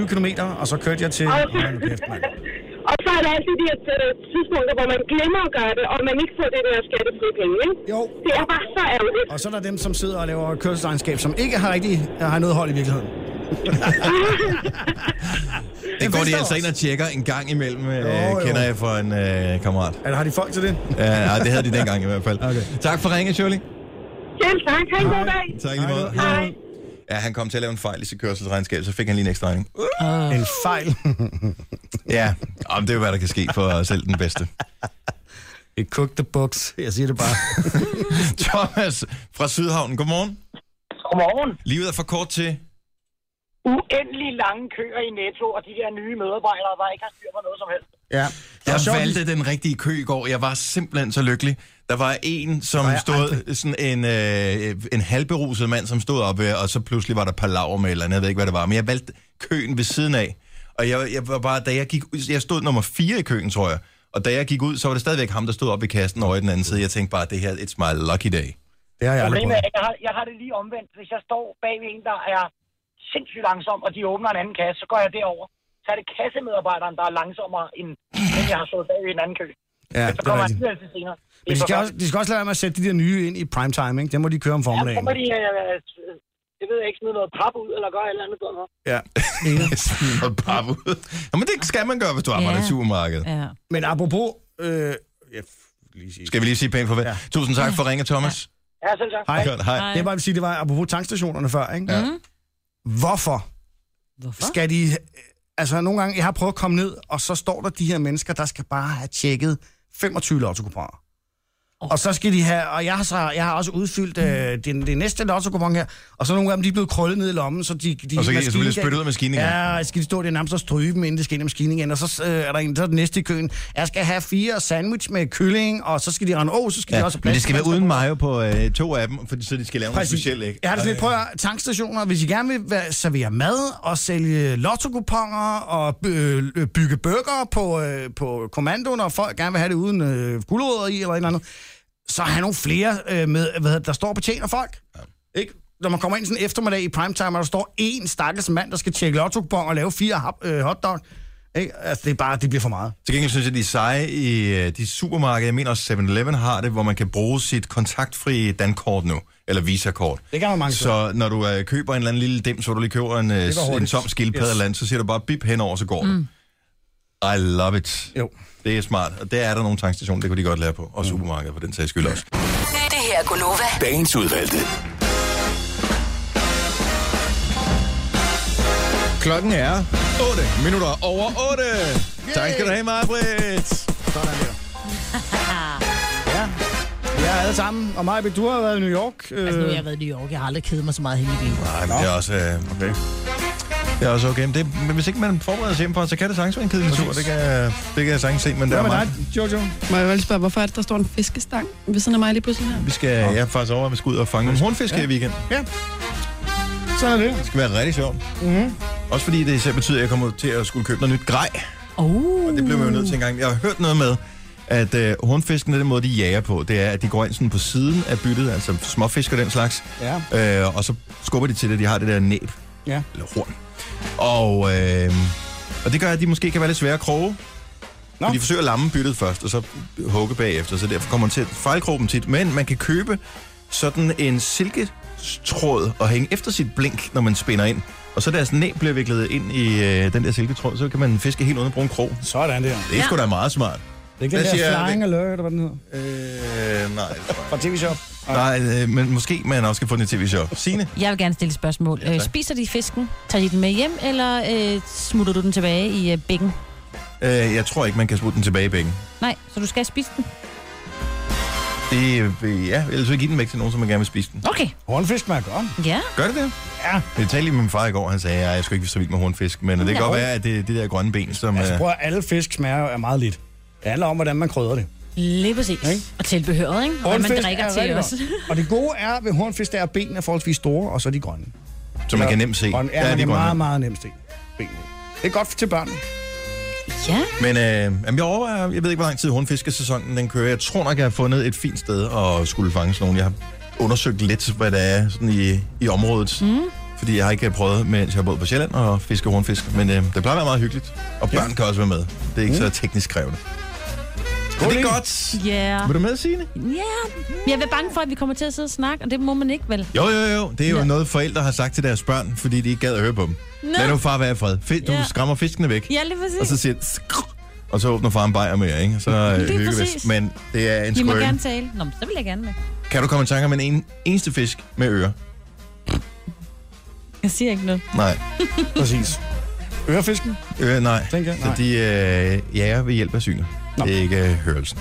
23.427 km, og så kørte jeg til...
Og,
Åh, nu kæft, mand.
og så er der altid de her øh, tidspunkter, hvor man glemmer at gøre det, og man ikke får det der skattefri penge, ikke?
Jo.
Det er bare så ærgerligt.
Og så er der dem, som sidder og laver *laughs* kørselsregnskab, som ikke har rigtig har noget hold i virkeligheden.
det går de
findes
altså
der
ind og tjekker en gang imellem, øh, kender jeg fra en øh, kammerat.
Er, har de folk til det?
Ja, nej, det havde de dengang i hvert fald. Okay. Tak for ringen, Shirley.
Selv tak. Ha' en god dag.
Tak i lige måde. Hej. Ja, han kom til at lave en fejl i sit kørselsregnskab, så fik han lige en ekstra regning.
En fejl.
Ja, om det er jo, hvad der kan ske for selv den bedste.
It cooked the books. Jeg siger det bare.
*laughs* Thomas fra Sydhavnen, godmorgen.
Godmorgen.
Livet er for kort til...
Uendelig lange køer i Netto, og de der nye medarbejdere, der ikke har styr på noget som helst.
*laughs* Ja.
Jeg valgte den rigtige kø i går. Jeg var simpelthen så lykkelig. Der var en, som
Nej,
stod, sådan en, øh, en halvberuset mand, som stod op, øh, og så pludselig var der palaver med et eller andet. Jeg ved ikke, hvad det var, men jeg valgte køen ved siden af. Og jeg, jeg var bare, da jeg gik ud, jeg stod nummer 4 i køen, tror jeg. Og da jeg gik ud, så var det stadigvæk ham, der stod op i kassen over i den anden side. Jeg tænkte bare, det her, it's my lucky day.
Det har jeg aldrig
Problemet er,
prøvet.
at jeg har, jeg har det lige omvendt. Hvis jeg står bag ved en, der er sindssygt langsom, og de åbner en anden kasse, så går jeg derover. Så er det kassemedarbejderen, der er langsommere, end den, jeg har stået bag ved en anden kø.
Ja,
Så
det er
kommer
rigtigt.
jeg til senere. Det er
Men de skal,
forfærdeligt.
også, de skal også lade være med at sætte de der nye ind i prime time, ikke? Det må de køre om
Ja, så
formiddagen.
må de, øh, øh, det ved jeg ikke, smide noget pap ud, eller gøre et eller andet. Sådan noget.
Ja.
*laughs* Smid noget pap ud. Nå, men det skal man gøre, hvis du arbejder
Ja.
i supermarkedet.
Ja.
Men apropos... Øh, ja, lige sige.
Skal vi lige sige pænt farvel? Ja. Tusind tak for at ringe, Thomas.
Ja, selv tak.
Hej.
Godt, hej.
Det var, jeg vil sige, det var apropos tankstationerne før, ikke? Ja. Hvorfor? Hvorfor? Skal de... Altså, nogle gange, jeg har prøvet at komme ned, og så står der de her mennesker, der skal bare have tjekket 25 lottokuponer. Oh. Og så skal de have, og jeg har, så, jeg har også udfyldt
Mm.
øh, det, det næste lottokupon her, og så nogle af dem, de er blevet krøllet ned i lommen, så de... de
Og så kan de
maskinen
blive
kan-
spyttet ud af maskinen igen.
Ja, og skal de stå der nærmest og stryge dem, inden det skal ind i maskinen igen, og så øh, er der en, så er det næste i køen. Jeg skal have fire sandwich med kylling, og så skal de rende, åh, oh, så skal de
Ja,
også have
men det
plads
skal
til
være uden mayo på øh, to af dem, for så de skal lave noget
Præcis.
specielt, ikke?
Jeg har det sådan lidt, prøv at høre, tankstationer, hvis I gerne vil være- servere mad og sælge lottokuponger og øh, øh, bygge bøger på, øh, på kommandoen, og folk gerne vil have det uden øh, gulerødder i eller et eller andet, så have nogle flere, øh, med, hvad, hedder det, der står og betjener folk. Ja. Ikke? Når man kommer ind sådan en eftermiddag i primetime, og der står én stakkels mand, der skal tjekke lottokuponger og lave fire hap, øh, hotdog. Ikke? Altså, det er bare, det bliver for meget.
Til gengæld synes jeg, de er seje i øh, de supermarkeder. Jeg mener også 7-Eleven har det, hvor man kan bruge sit kontaktfri dankort nu, eller visakort.
Det kan man mange
Så når du øh, køber en eller anden lille dem, så du lige køber en, øh,
Det går
en
hurtigt.
tom skildpadde yes.
Yes.
eller andet, så siger du bare bip henover, så går mm. det. I love it.
Jo.
Det er smart, og der er der nogle tankstationer, det kunne de godt lære på, og supermarkeder for den sags skyld også.
Det her er Gunova.
Dagens udvalgte.
Klokken er 8 minutter over 8. Tak skal du have, Marbrit.
Sådan der.
*laughs*
ja. Vi er alle sammen, og mig, du har været i New York. Øh...
Altså, nu har jeg været i New York. Jeg har aldrig kedet mig så meget i hele mit liv.
Nej, men det er også... Øh, okay. Det er også okay. Men, det, men hvis ikke man forbereder sig hjemmefra, så kan det sagtens være en kedelig tur. Det kan, det kan jeg sagtens se, men det er mig.
Jojo?
Må jeg vel spørge, hvorfor er det, der står en fiskestang ved siden af mig lige pludselig her?
Vi skal, jeg er faktisk over, at vi skal ud og fange nogle hornfisk her i weekenden.
Ja. Sådan er det.
Det skal være rigtig sjovt.
Mm-hmm.
Også fordi det selv betyder, at jeg kommer til at skulle købe noget nyt grej.
Oh.
Og det blev man jo nødt til engang. Jeg har hørt noget med, at øh, hornfiskene, den måde, de jager på, det er, at de går ind sådan på siden af byttet, altså småfisk og den slags,
Ja.
øh, og så skubber de til det, de har det der næb,
Ja.
eller horn. Og, øh, og det gør, at de måske kan være lidt svære at kroge.
Nå.
Nå. De forsøger at lamme byttet først, og så hugge bagefter, så derfor kommer man til at fejlkroge dem tit. Men man kan købe sådan en silketråd og hænge efter sit blink, når man spænder ind. Og så deres næb bliver viklet ind i øh, den der silketråd, så kan man fiske helt uden at bruge en krog. Det
Sådan der.
er
Ja.
ja. sgu da meget smart.
Det er ikke
Hvad
det
siger-
der flying alert, eller hvad den hedder.
Øh, nej.
Fra tv-shop.
Nej, øh, men måske man også kan få den i tv-show. Signe?
Jeg vil gerne stille et spørgsmål. Ja, Spiser de fisken? Tager de den med hjem, eller øh, smutter du den tilbage i øh, bækken?
Øh, jeg tror ikke, man kan smutte den tilbage i bænken.
Nej, så du skal spise den.
Det, øh, ja, ellers vil jeg give den væk til nogen, som man gerne vil spise den.
Okay.
Hornfisk smager godt.
Ja.
Gør det det?
Ja.
Jeg talte lige med min far i går, han sagde, at jeg skulle ikke så vidt med hornfisk, men det kan
Nå.
godt være, at det er det der grønne ben, som...
Altså
øh,
prøv at alle fisk smager jo af meget lidt. Det handler om, hvordan man krydder det.
Lige præcis. Ikke? Og tilbehøret, ikke? Og hvad man drikker til
rigtig
også.
godt. Og det gode er ved hornfisk, det er, at benene er forholdsvis store, og så er de grønne.
Så man kan nemt se.
Og, ja, man
Der er de
kan
grønne.
meget, meget nemt se benene. Det er godt til børn.
*laughs* Ja.
Men øh, jamen, jeg overvejer, jeg ved ikke, hvor lang tid hornfiskesæsonen den kører. Jeg tror nok, jeg har fundet et fint sted at skulle fange sådan nogen. Jeg har undersøgt lidt, hvad der er sådan i, i området. Mm. Fordi jeg har ikke prøvet, mens jeg har boet på Sjælland og fiske hornfisk. Men øh, det plejer at være meget hyggeligt. Og børn kan også være med. Det er ikke mm. så teknisk krævende. Skål, det er godt.
Yeah.
Vil du med, Signe?
Ja, yeah. jeg er bange for, at vi kommer til at sidde og snakke, og det må man ikke, vel?
Jo, jo, jo. Det er jo ja. noget, forældre har sagt til deres børn, fordi de ikke gad at høre på dem.
Nå.
Nå. Lad nu far være i fred. Fe- du
Ja.
ja. skræmmer fiskene væk.
Ja, lige præcis.
Og så siger den, "Skr-" og så åbner far en bajer mere, ikke? Så øh,
Lige
hygger vi
præcis.
os. Men det er en
I må gerne
squirrel.
tale. Nå, men så vil jeg gerne med.
Kan du komme i tanke om en, en eneste fisk med ører?
Jeg siger ikke noget.
Nej.
Præcis. Ørefisken?
Øh, nej.
Tænker jeg,
Så
nej.
de øh, jager ved hjælp af synet. Det er ikke øh, hørelsen.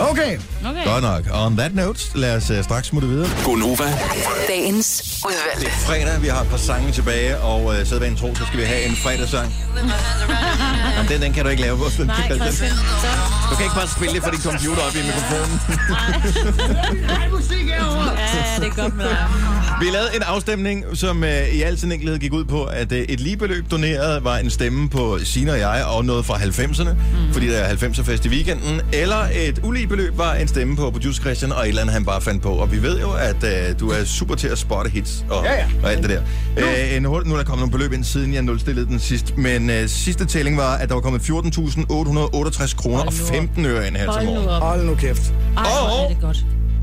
Okay.
okay.
Godt nok. Og on that note, lad os øh, straks smutte videre.
Gonova.
Dagens udvalgte.
Fredag, vi har et par sange tilbage, og øh, sædvanen tro, så skal vi have en fredagssang. Jamen, den, den kan du ikke lave. *laughs* Den,
Nej,
den,
Christian. Så.
du kan ikke bare spille det fra din computer op i mikrofonen.
Nej, musik herovre!
Ja, det er godt med dig.
Vi lavede en afstemning, som øh, i al sin enkelhed gik ud på, at øh, et ligebeløb doneret var en stemme på Sina og jeg, og noget fra 90'erne, mm. fordi der er 90'er-fest i weekenden, eller et uligebeløb var en stemme på producer Christian, og et eller andet, han bare fandt på. Og vi ved jo, at øh, du er super til at spotte hits og, ja, ja. og alt det der. Øh, en, hurtig- nu er der kommet nogle beløb ind, siden jeg nulstillede den sidst, men øh, sidste tælling var, at der var kommet 14.868 kroner og 15 øre ind her til
Hold
morgen.
nu op.
Hold nu kæft.
Ej, hvor er det godt.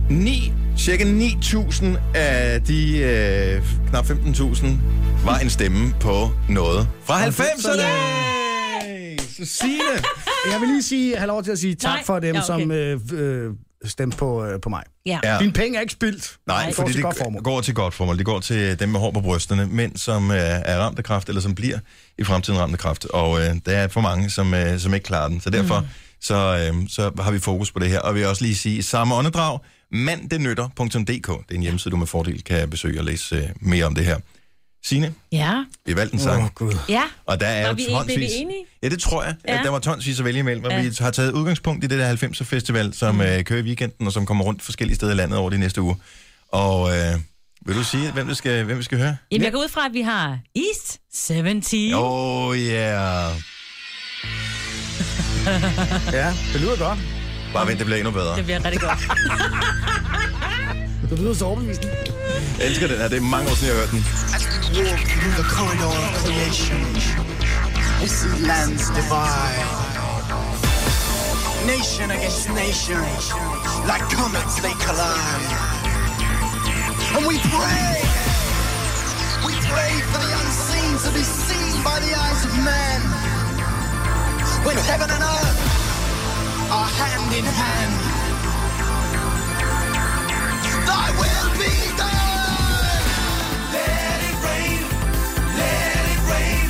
9, cirka 9.000 af de øh, knap 15.000 var en stemme på noget fra 90'erne. Så Signe,
Jeg vil lige sige, have lov til at sige tak
Nej.
for dem,
Ja, okay.
ja, okay. som øh, øh, stemte på, øh, på mig.
Ja.
Ja.
Dine penge er ikke spildt.
Nej,
det går
fordi
til
det
godt formål.
går til godt formål. Det går til dem med hår på brysterne, mænd, som øh, er ramt af kræft, eller som bliver i fremtiden ramt af kræft. Og øh, der er for mange, som, øh, som ikke klarer den. Så derfor mm. så, øh, så har vi fokus på det her. Og vi vil også lige sige, i samme åndedrag, manddenytter.dk. Det er en hjemmeside, du med fordel kan besøge og læse øh, mere om det her. Signe,
Ja.
vi valgte en sang.
Åh, Gud.
Ja.
Og der er
Var
jo
vi- blev vi
tonsvis...
enige?
Ja, det tror jeg, ja.
Ja.
at der var tonsvis at vælge imellem. Og
Ja.
ja. vi har taget udgangspunkt i det der 90'er festival, som mm. øh, kører i weekenden, og som kommer rundt forskellige steder i landet over de næste uger. Og øh, vil du sige, hvem vi skal, hvem vi skal høre?
Jamen, jeg går ud fra, at vi har East 70.
Oh yeah.
Ja, det lyder godt.
Bare vent, det bliver endnu bedre.
Det bliver rigtig godt.
Du lyder så overbevist.
Jeg elsker den her. Det er mange år siden, jeg har hørt den.
lands divide. Nation against nation, like comets they collide. And we pray, we pray for the unseen to be seen by the eyes of man. When heaven and earth are hand in hand. Thy will be done. Let it rain, let it rain.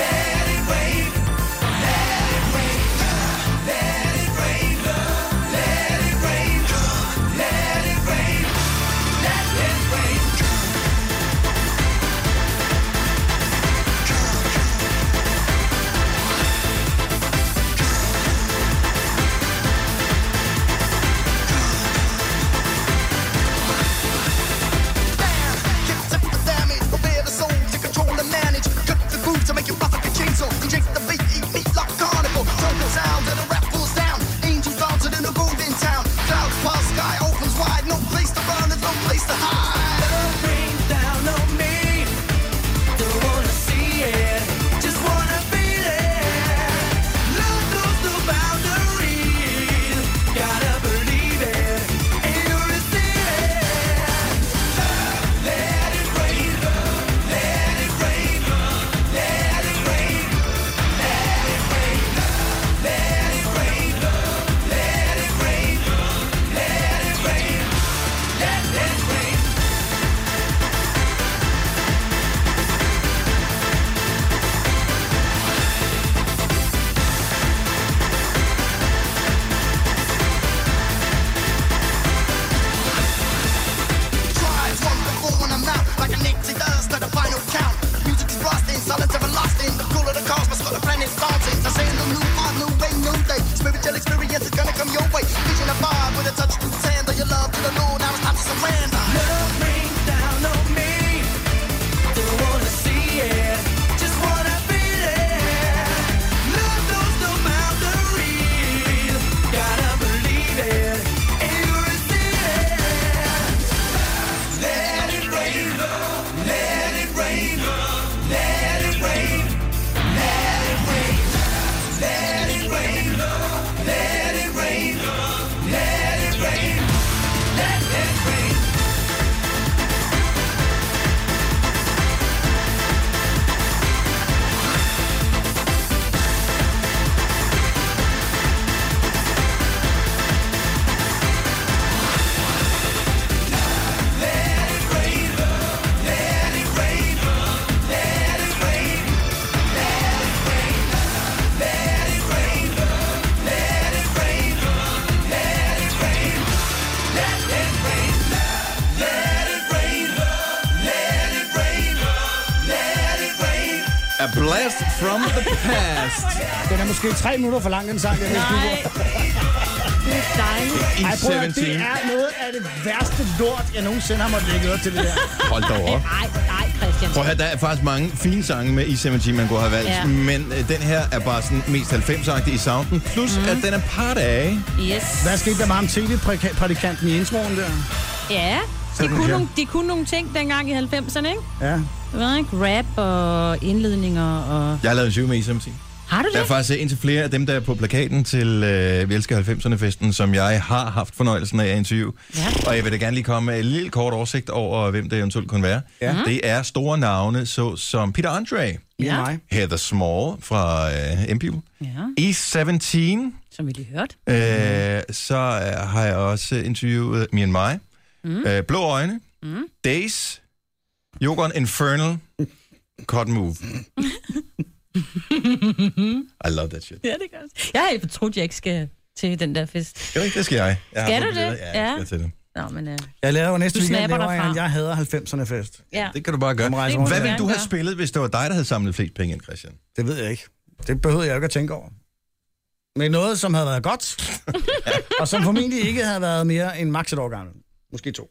Let it rain, let it rain, let it rain, let it rain, let it rain, let it rain.
A blast from the past.
Den er måske tre minutter for lang, den sang. Jeg Nej.
Det er dejligt.
Ej, prøv at, høre, det
17.
er noget af det værste lort, jeg nogensinde har måttet lægge øre til det der.
Hold da op.
Nej, nej, Christian.
Prøv at høre, der er faktisk mange fine sange med i 17 man kunne have valgt,
Ja.
ja. men øh, den her er bare sådan mest 90-agtig i sounden, plus mm. at den er part af...
Yes.
Hvad skete der med ham tv-prædikanten i introen der?
Ja, de
Sådan
kunne,
her.
nogle, de kunne nogle ting dengang i 90'erne, ikke?
Ja.
Jeg ved ikke, rap og indledninger og...
Jeg har lavet en syv med i 17.
Har du
Der er
det?
faktisk øh, indtil flere af dem, der er på plakaten til øh, Vi elsker 90'erne-festen, som jeg har haft fornøjelsen af at interviewe. Ja. Og jeg vil da gerne lige komme med en lille kort oversigt over, hvem det eventuelt kunne være. Mm-hmm.
Ja.
Det er store navne, så som Peter Andre,
Ja. Mig.
Heather Small fra øh, MPU,
Ja,
i 17
som vi lige hørte. *laughs*
Øh, så øh, har jeg også interviewet Mian Mai, mm. øh, Blå Øjne, mm. Days, Jokeren Infernal, Cotton Move. I love that shit.
Ja, det gør det. Jeg har helt fortrudt, jeg ikke skal til den der fest.
Jo, ikke? det skal jeg. jeg
Skal
har
du
billeder.
det?
Ja, jeg
Ja.
skal til det.
Nå, men... Øh,
Jeg laver jo næste
Du
weekend,
snapper
laver
dig
jeg,
fra.
en jeg hader 90'erne fest.
ja.
Det kan du bare gøre.
Kom, rejse rundt.
Hvad
Det vil
ville
jeg
du have
gøre.
spillet, hvis det var dig, der havde samlet flest penge ind, Christian?
Det ved jeg ikke. Det behøvede jeg ikke at tænke over. Men noget, som havde været
*laughs*
godt, og som formentlig ikke havde været mere end maks et år gammel. Måske to.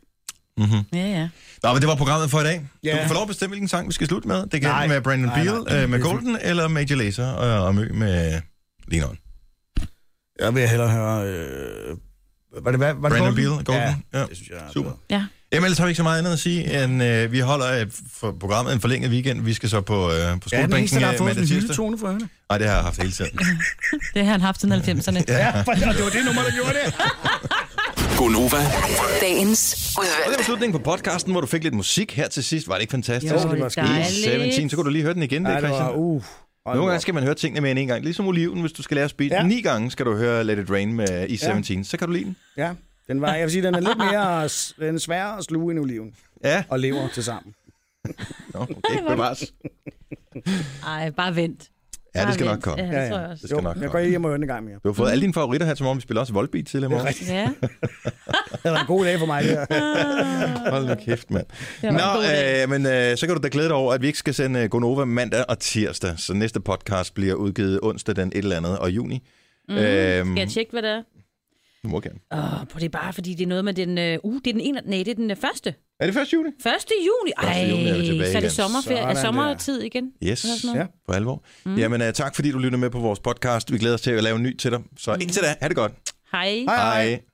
Mm-hmm.
Ja, ja.
Nå, men det var programmet for i dag.
Ja.
Du kan få lov at bestemme, hvilken sang vi skal slutte med. Det kan
Nej.
enten være Brandon
Nej, nej.
Beal øh, med Golden, eller Major Lazer øh, og, og Mø med Linon.
Jeg vil hellere høre... Øh... Var det, hvad, var det
Brandon Beal,
Golden?
Golden.
Ja,
Ja.
det synes jeg er
Super.
bedre.
Ja.
Jamen, ellers har vi ikke så meget andet at sige, end øh, vi holder øh, for programmet en forlænget weekend. Vi skal så på, øh, på
Ja, den eneste,
skolebænken
der har
øh,
fået sådan
mandag
en
tirsdag.
hyldetone for hende.
Nej, det har jeg haft hele
*laughs*
tiden.
Det har han haft siden 90'erne.
Ja, for det var det nummer, der gjorde
*laughs*
det.
Gonova.
Dagens
Og det var
udvalgte.
slutningen på podcasten, hvor du fik lidt musik her til sidst. Var det ikke fantastisk?
Jo, det var dejligt.
17, så kunne du lige høre den igen,
Ja,
det,
det
Christian.
var... Uh, hold
Nogle
nu
gange
op.
skal man høre tingene med en en gang. Ligesom oliven, hvis du skal lære at spise. Ja.
Ja.
Ni gange skal du høre Let It Rain med i 17. Så kan du lide den.
Ja, den var, jeg vil sige, den er lidt mere s- den er sværere at sluge end oliven
Ja.
og lever til sammen.
Nå, okay. Bevares.
Ej, bare vent.
Ja, det skal
Bare
nok
vent.
komme.
Ja, det tror jeg også.
Det
Jo,
skal nok
jeg går
komme.
hjem og hører den en gang mere.
Du har fået alle dine favoritter her til morgen. Vi spiller også Volbeat til i morgen.
Ja.
Det var en god dag for
*laughs*
mig. Det her.
Hold nu kæft, mand.
var en
Nå,
god dag.
øh, men øh, så kan du da glæde dig over, at vi ikke skal sende øh, Gonova mandag og tirsdag. Så næste podcast bliver udgivet onsdag den et eller andet og juni. Mm, øhm,
Mm-hmm. Skal jeg tjekke, hvad det er?
Du må gerne.
Åh, på det er bare, fordi det er noget med den... Øh, uh, det er den ene... Nej, det er den øh, første.
Er det 1. juni?
Første juni. Ej,
Første juni er vi tilbage
så er det
igen.
sommerferie. Er
Sådan
sommertid igen?
Yes,
Eller sådan noget?
ja. for alvor. Mm. Jamen, øh, tak fordi du lytter med på vores podcast. Vi glæder os til at lave en ny til dig. Så indtil da, ha' det godt.
Hej.
Hej.
Hej.